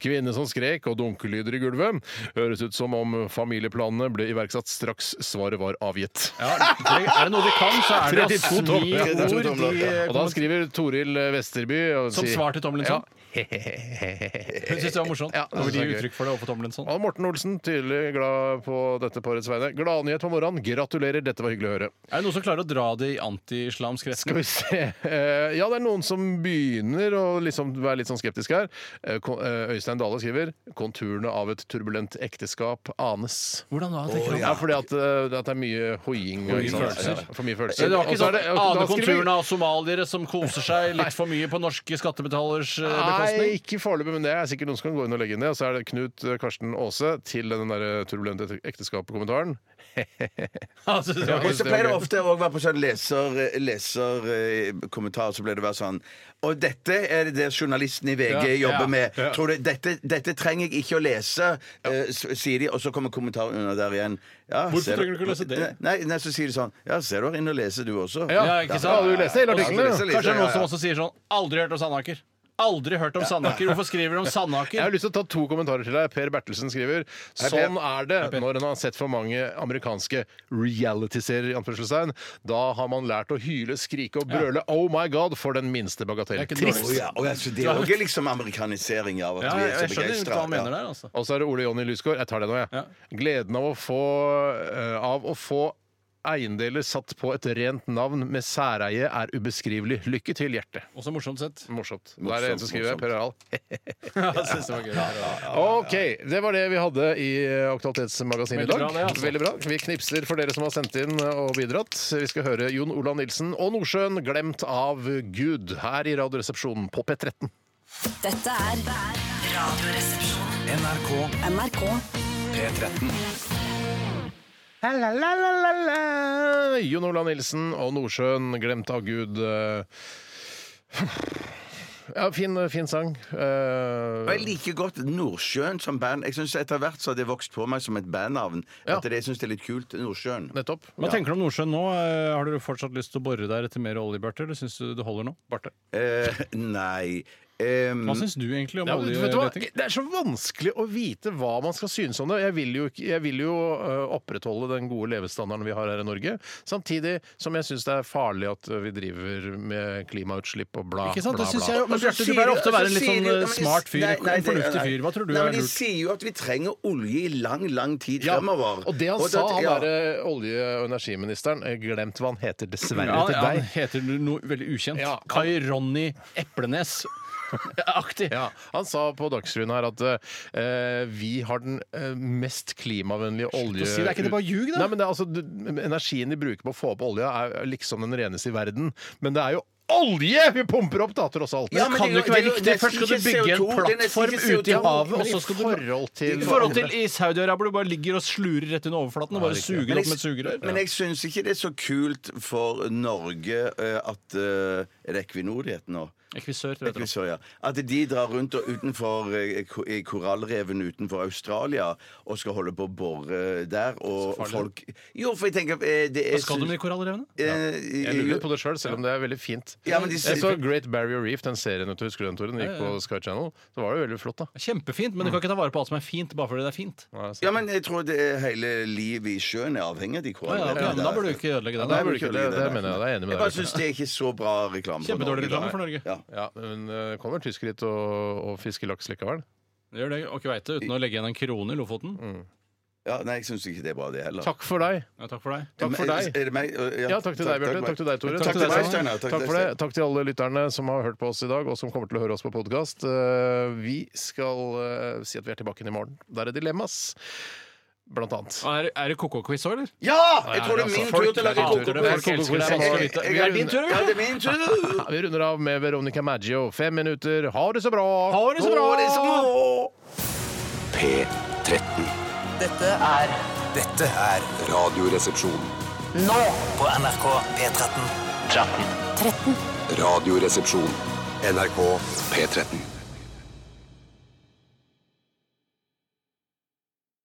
Kvinne som skrek og dunkelyder i gulvet. Høres ut som om familieplanene ble iverksatt straks svaret var avgitt.
Ja, det- er det noe vi kan, så er det å
32
smi
tomler.
ord
32 tomler,
i,
ja.
Og da skriver Toril eh, Vesterby og
Som
sier-
svar til Tomlinson?
Ja.
Hun syntes det var morsomt.
Ja, det
Over
synes
de
jeg er gøy.
uttrykk for det overfor Tomlinson.
Og Morten Olsen, tydelig glad på dette parets vegne. Gladnyhet på morgenen. Gratulerer, dette var hyggelig å høre.
Er det noen som klarer å dra det i anti-islamsk
Skal
retning?
vi se Eh, Ja, det er noen som begynner å liksom være litt sånn skeptisk her. Eh, Ko- eh, Øystein Dale skriver 'Konturene av et turbulent ekteskap anes'.
Hvordan da? tenker du?
Ja, fordi at, eh, at det er mye hoiing og
Mye
ikke sant?
følelser.
Ja, for mye følelser.
Så det var
Og
ikke
så er
sånn
det- og da
ane
skriver-
konturene av somaliere som koser seg litt for mye på norske skattebetalers eh,
Nei,
bekostning?
ikke foreløpig, men det er sikkert noen som kan gå inn og legge inn det. Og så er det Knut eh, Karsten Aase til den der turbulente ekteskapet-kommentaren.
Altså, det var
Og
ikke-
så pleier det ofte å være på sånn leser, leserkommentar, så pleier det å være sånn Og dette er det journalisten i VG
Ja,
jobber
ja,
med.
ja.
Tror du, dette, dette trenger jeg ikke å lese, eh, s- sier de, og så kommer kommentaren under der igjen. Ja,
Hvorfor
ser
trenger du ikke å lese det?
Nei, nei, så sier de sånn Ja, ser du her inne og leser, du også?
Ja, ikke sant?
Ja, du leser hele
Og så-
artikkelen,
ja.
Kanskje det er noen som
Ja, ja.
også sier sånn Aldri hørt om Sandaker. aldri hørt om Sandaker. Hvorfor skriver de om Sandaker?
Jeg har lyst til å ta to kommentarer til deg. Per Bertelsen skriver sånn er det når en har sett for mange amerikanske reality-serier. i anførselstegn. Da har man lært å hyle, skrike og brøle 'oh my god' for den minste bagatell.
Det er ikke
Trist.
dårlig.
Å ja, å ja, så det er jo liksom amerikanisering av at
Ja,
vi
jeg,
er
jeg
så
skjønner ikke hva han mener
begeistra.
der, altså.
Og så er det Ole Jonny Lysgård. Jeg tar det nå, jeg.
Ja.
Gleden av å få, eh, av å få eiendeler satt på et rent navn med særeie er ubeskrivelig. Lykke til, hjerte.
Også morsomt sett.
Morsomt. Der er det en som skriver.
morsomt.
Per Harald.
Ja, jeg synes det var gøy.
OK. Det var det vi hadde i eh, Aktualitetsmagasinet i
Veldig
dag.
bra det, altså.
Veldig bra. Vi knipser for dere som har sendt inn og bidratt. Vi skal høre Jon Olav Nilsen og Nordsjøen, glemt av Gud, her i Radioresepsjonen på P13.
Dette er Radioresepsjonen.
NRK
NRK
P13.
La-la-la-la-la. Jon Olav Nilsen og Nordsjøen, glemt av Gud. eh. Ja, fin, fin sang. Eh,
Og jeg liker godt Nordsjøen som band. Jeg synes Etter hvert så har det vokst på meg som et bandnavn.
Ja.
At det, jeg synes det er litt kult. Nordsjøen.
Nettopp.
Hva tenker du om Nordsjøen nå? Eh, Har du fortsatt lyst til å bore der etter mer olje, Bjarte? Eller syns du det holder nå? Barte.
Eh, nei Em,
Hva syns du egentlig om
Ja, men vet du hva?
oljeleting?
Det er så vanskelig å vite hva man skal synes om det. Jeg vil jo, ikke- jeg vil jo øh, opprettholde den gode levestandarden vi har her i Norge, samtidig som jeg syns det er farlig at øh, vi driver med klimautslipp og bla,
Ikke sant?
bla,
Det synes
bla.
jeg jo. Men
Og så
Bjarte, du
sier
pleier
de-
ofte å være en
så
litt
sier
sånn
de-
eh,
ja, men de-
smart fyr.
nei, nei,
En
det-
fornuftig
nei.
fyr. Hva tror du
nei,
er
men De
lurt?
sier jo at vi trenger olje i lang, lang tid
Ja,
fremover.
og det han
Og
sa,
da-
han
ja.
derre olje- og energiministeren eh, Glemt hva han heter, dessverre,
Ja,
til
ja, han
deg.
heter noe veldig ukjent.
Ja.
Kai Ronny Eplenes. Aktig.
Ja, Han sa på Dagsrevyen her at eh, vi har den eh, mest klimavennlige olje...
å si det. Er ikke det bare ljug, da?
Nei, men det er altså, du- Energien de bruker på å få opp olja, er liksom den reneste i verden. Men det er jo olje vi pumper opp, da, tross alt!
Ja,
det
men
kan
det er
jo
jo-
ikke være
det er jo
riktig.
nesten
Først skal du
ikke
bygge en
CO2, det er nesten
plattform
ikke
ute i
CO2,
havet,
men
og så
i
skal du
forhold til
I forhold til i Saudi-Arabia, du bare ligger og slurer rett under overflaten og bare
riktig.
suger opp med et
jeg,
sugerør.
men jeg syns ikke det er så kult for Norge eh, at eh, Er det Equinor det heter nå?
Ekvisør, tror jeg det heter.
Equinor, ja. At de drar rundt og utenfor eh, ko- i korallreven utenfor Australia og skal holde på å bore der, og folk Jo, for jeg tenker eh, det er, eh,
Hva skal du med de korallrevene?
Jeg lurer litt på det sjøl, selv om det er veldig fint.
Ja, men de-
Jeg så Great Barrier Reef, den serien vet du husker du den, Tore? Den gikk på Sky Channel. Så var det jo veldig flott, da.
Kjempefint, men du kan ikke ta vare på alt som er fint bare fordi det er fint.
Ja, men jeg tror det er hele livet i sjøen er avhengig av de
Ja, ja,
korallrevene.
ok, men da burde du ikke ødelegge
Nei,
den.
burde ikke det. Det mener jeg, det er jeg enig med
Jeg bare
deg.
syns det er ikke så bra reklame. for
Kjempedårlig
Norge, da.
reklame for Norge.
Ja.
Ja, men eh, kommer tyskere hit og, og fisker laks likevel?
Gjør det, og kveite uten å legge igjen en krone i Lofoten.
ja, Nei, jeg syns ikke det er bra, det heller.
Takk for deg!
Ja, takk for deg.
Takk for deg!
Er det meg?
Ja, takk til deg, Bjarte. Takk til deg, Tore.
Takk,
Takk,
til deg,
Steinar.
Steinar.
Takk for det. Takk til alle lytterne som har hørt på oss i dag, og som kommer til å høre oss på podkast. Vi skal eh, si at vi er tilbake igjen i morgen. Der er dilemmas, blant annet.
Er, er det koko-quiz òg, eller?
Ja! Jeg tror det er min tur til å lage
Folk-
kokebok.
Folk elsker deg, man skal vite.
Jeg- jeg-
Vi runder-
Ja, det er min tur!
Ja, Vi runder av med Veronica Maggio. Fem minutter. Ha det så bra!
Ha det så bra!
Å, det er så bra!
P13.
Dette er
Dette er
Radioresepsjon.
nå
på NRK P13.
13. Radioresepsjon. NRK P13.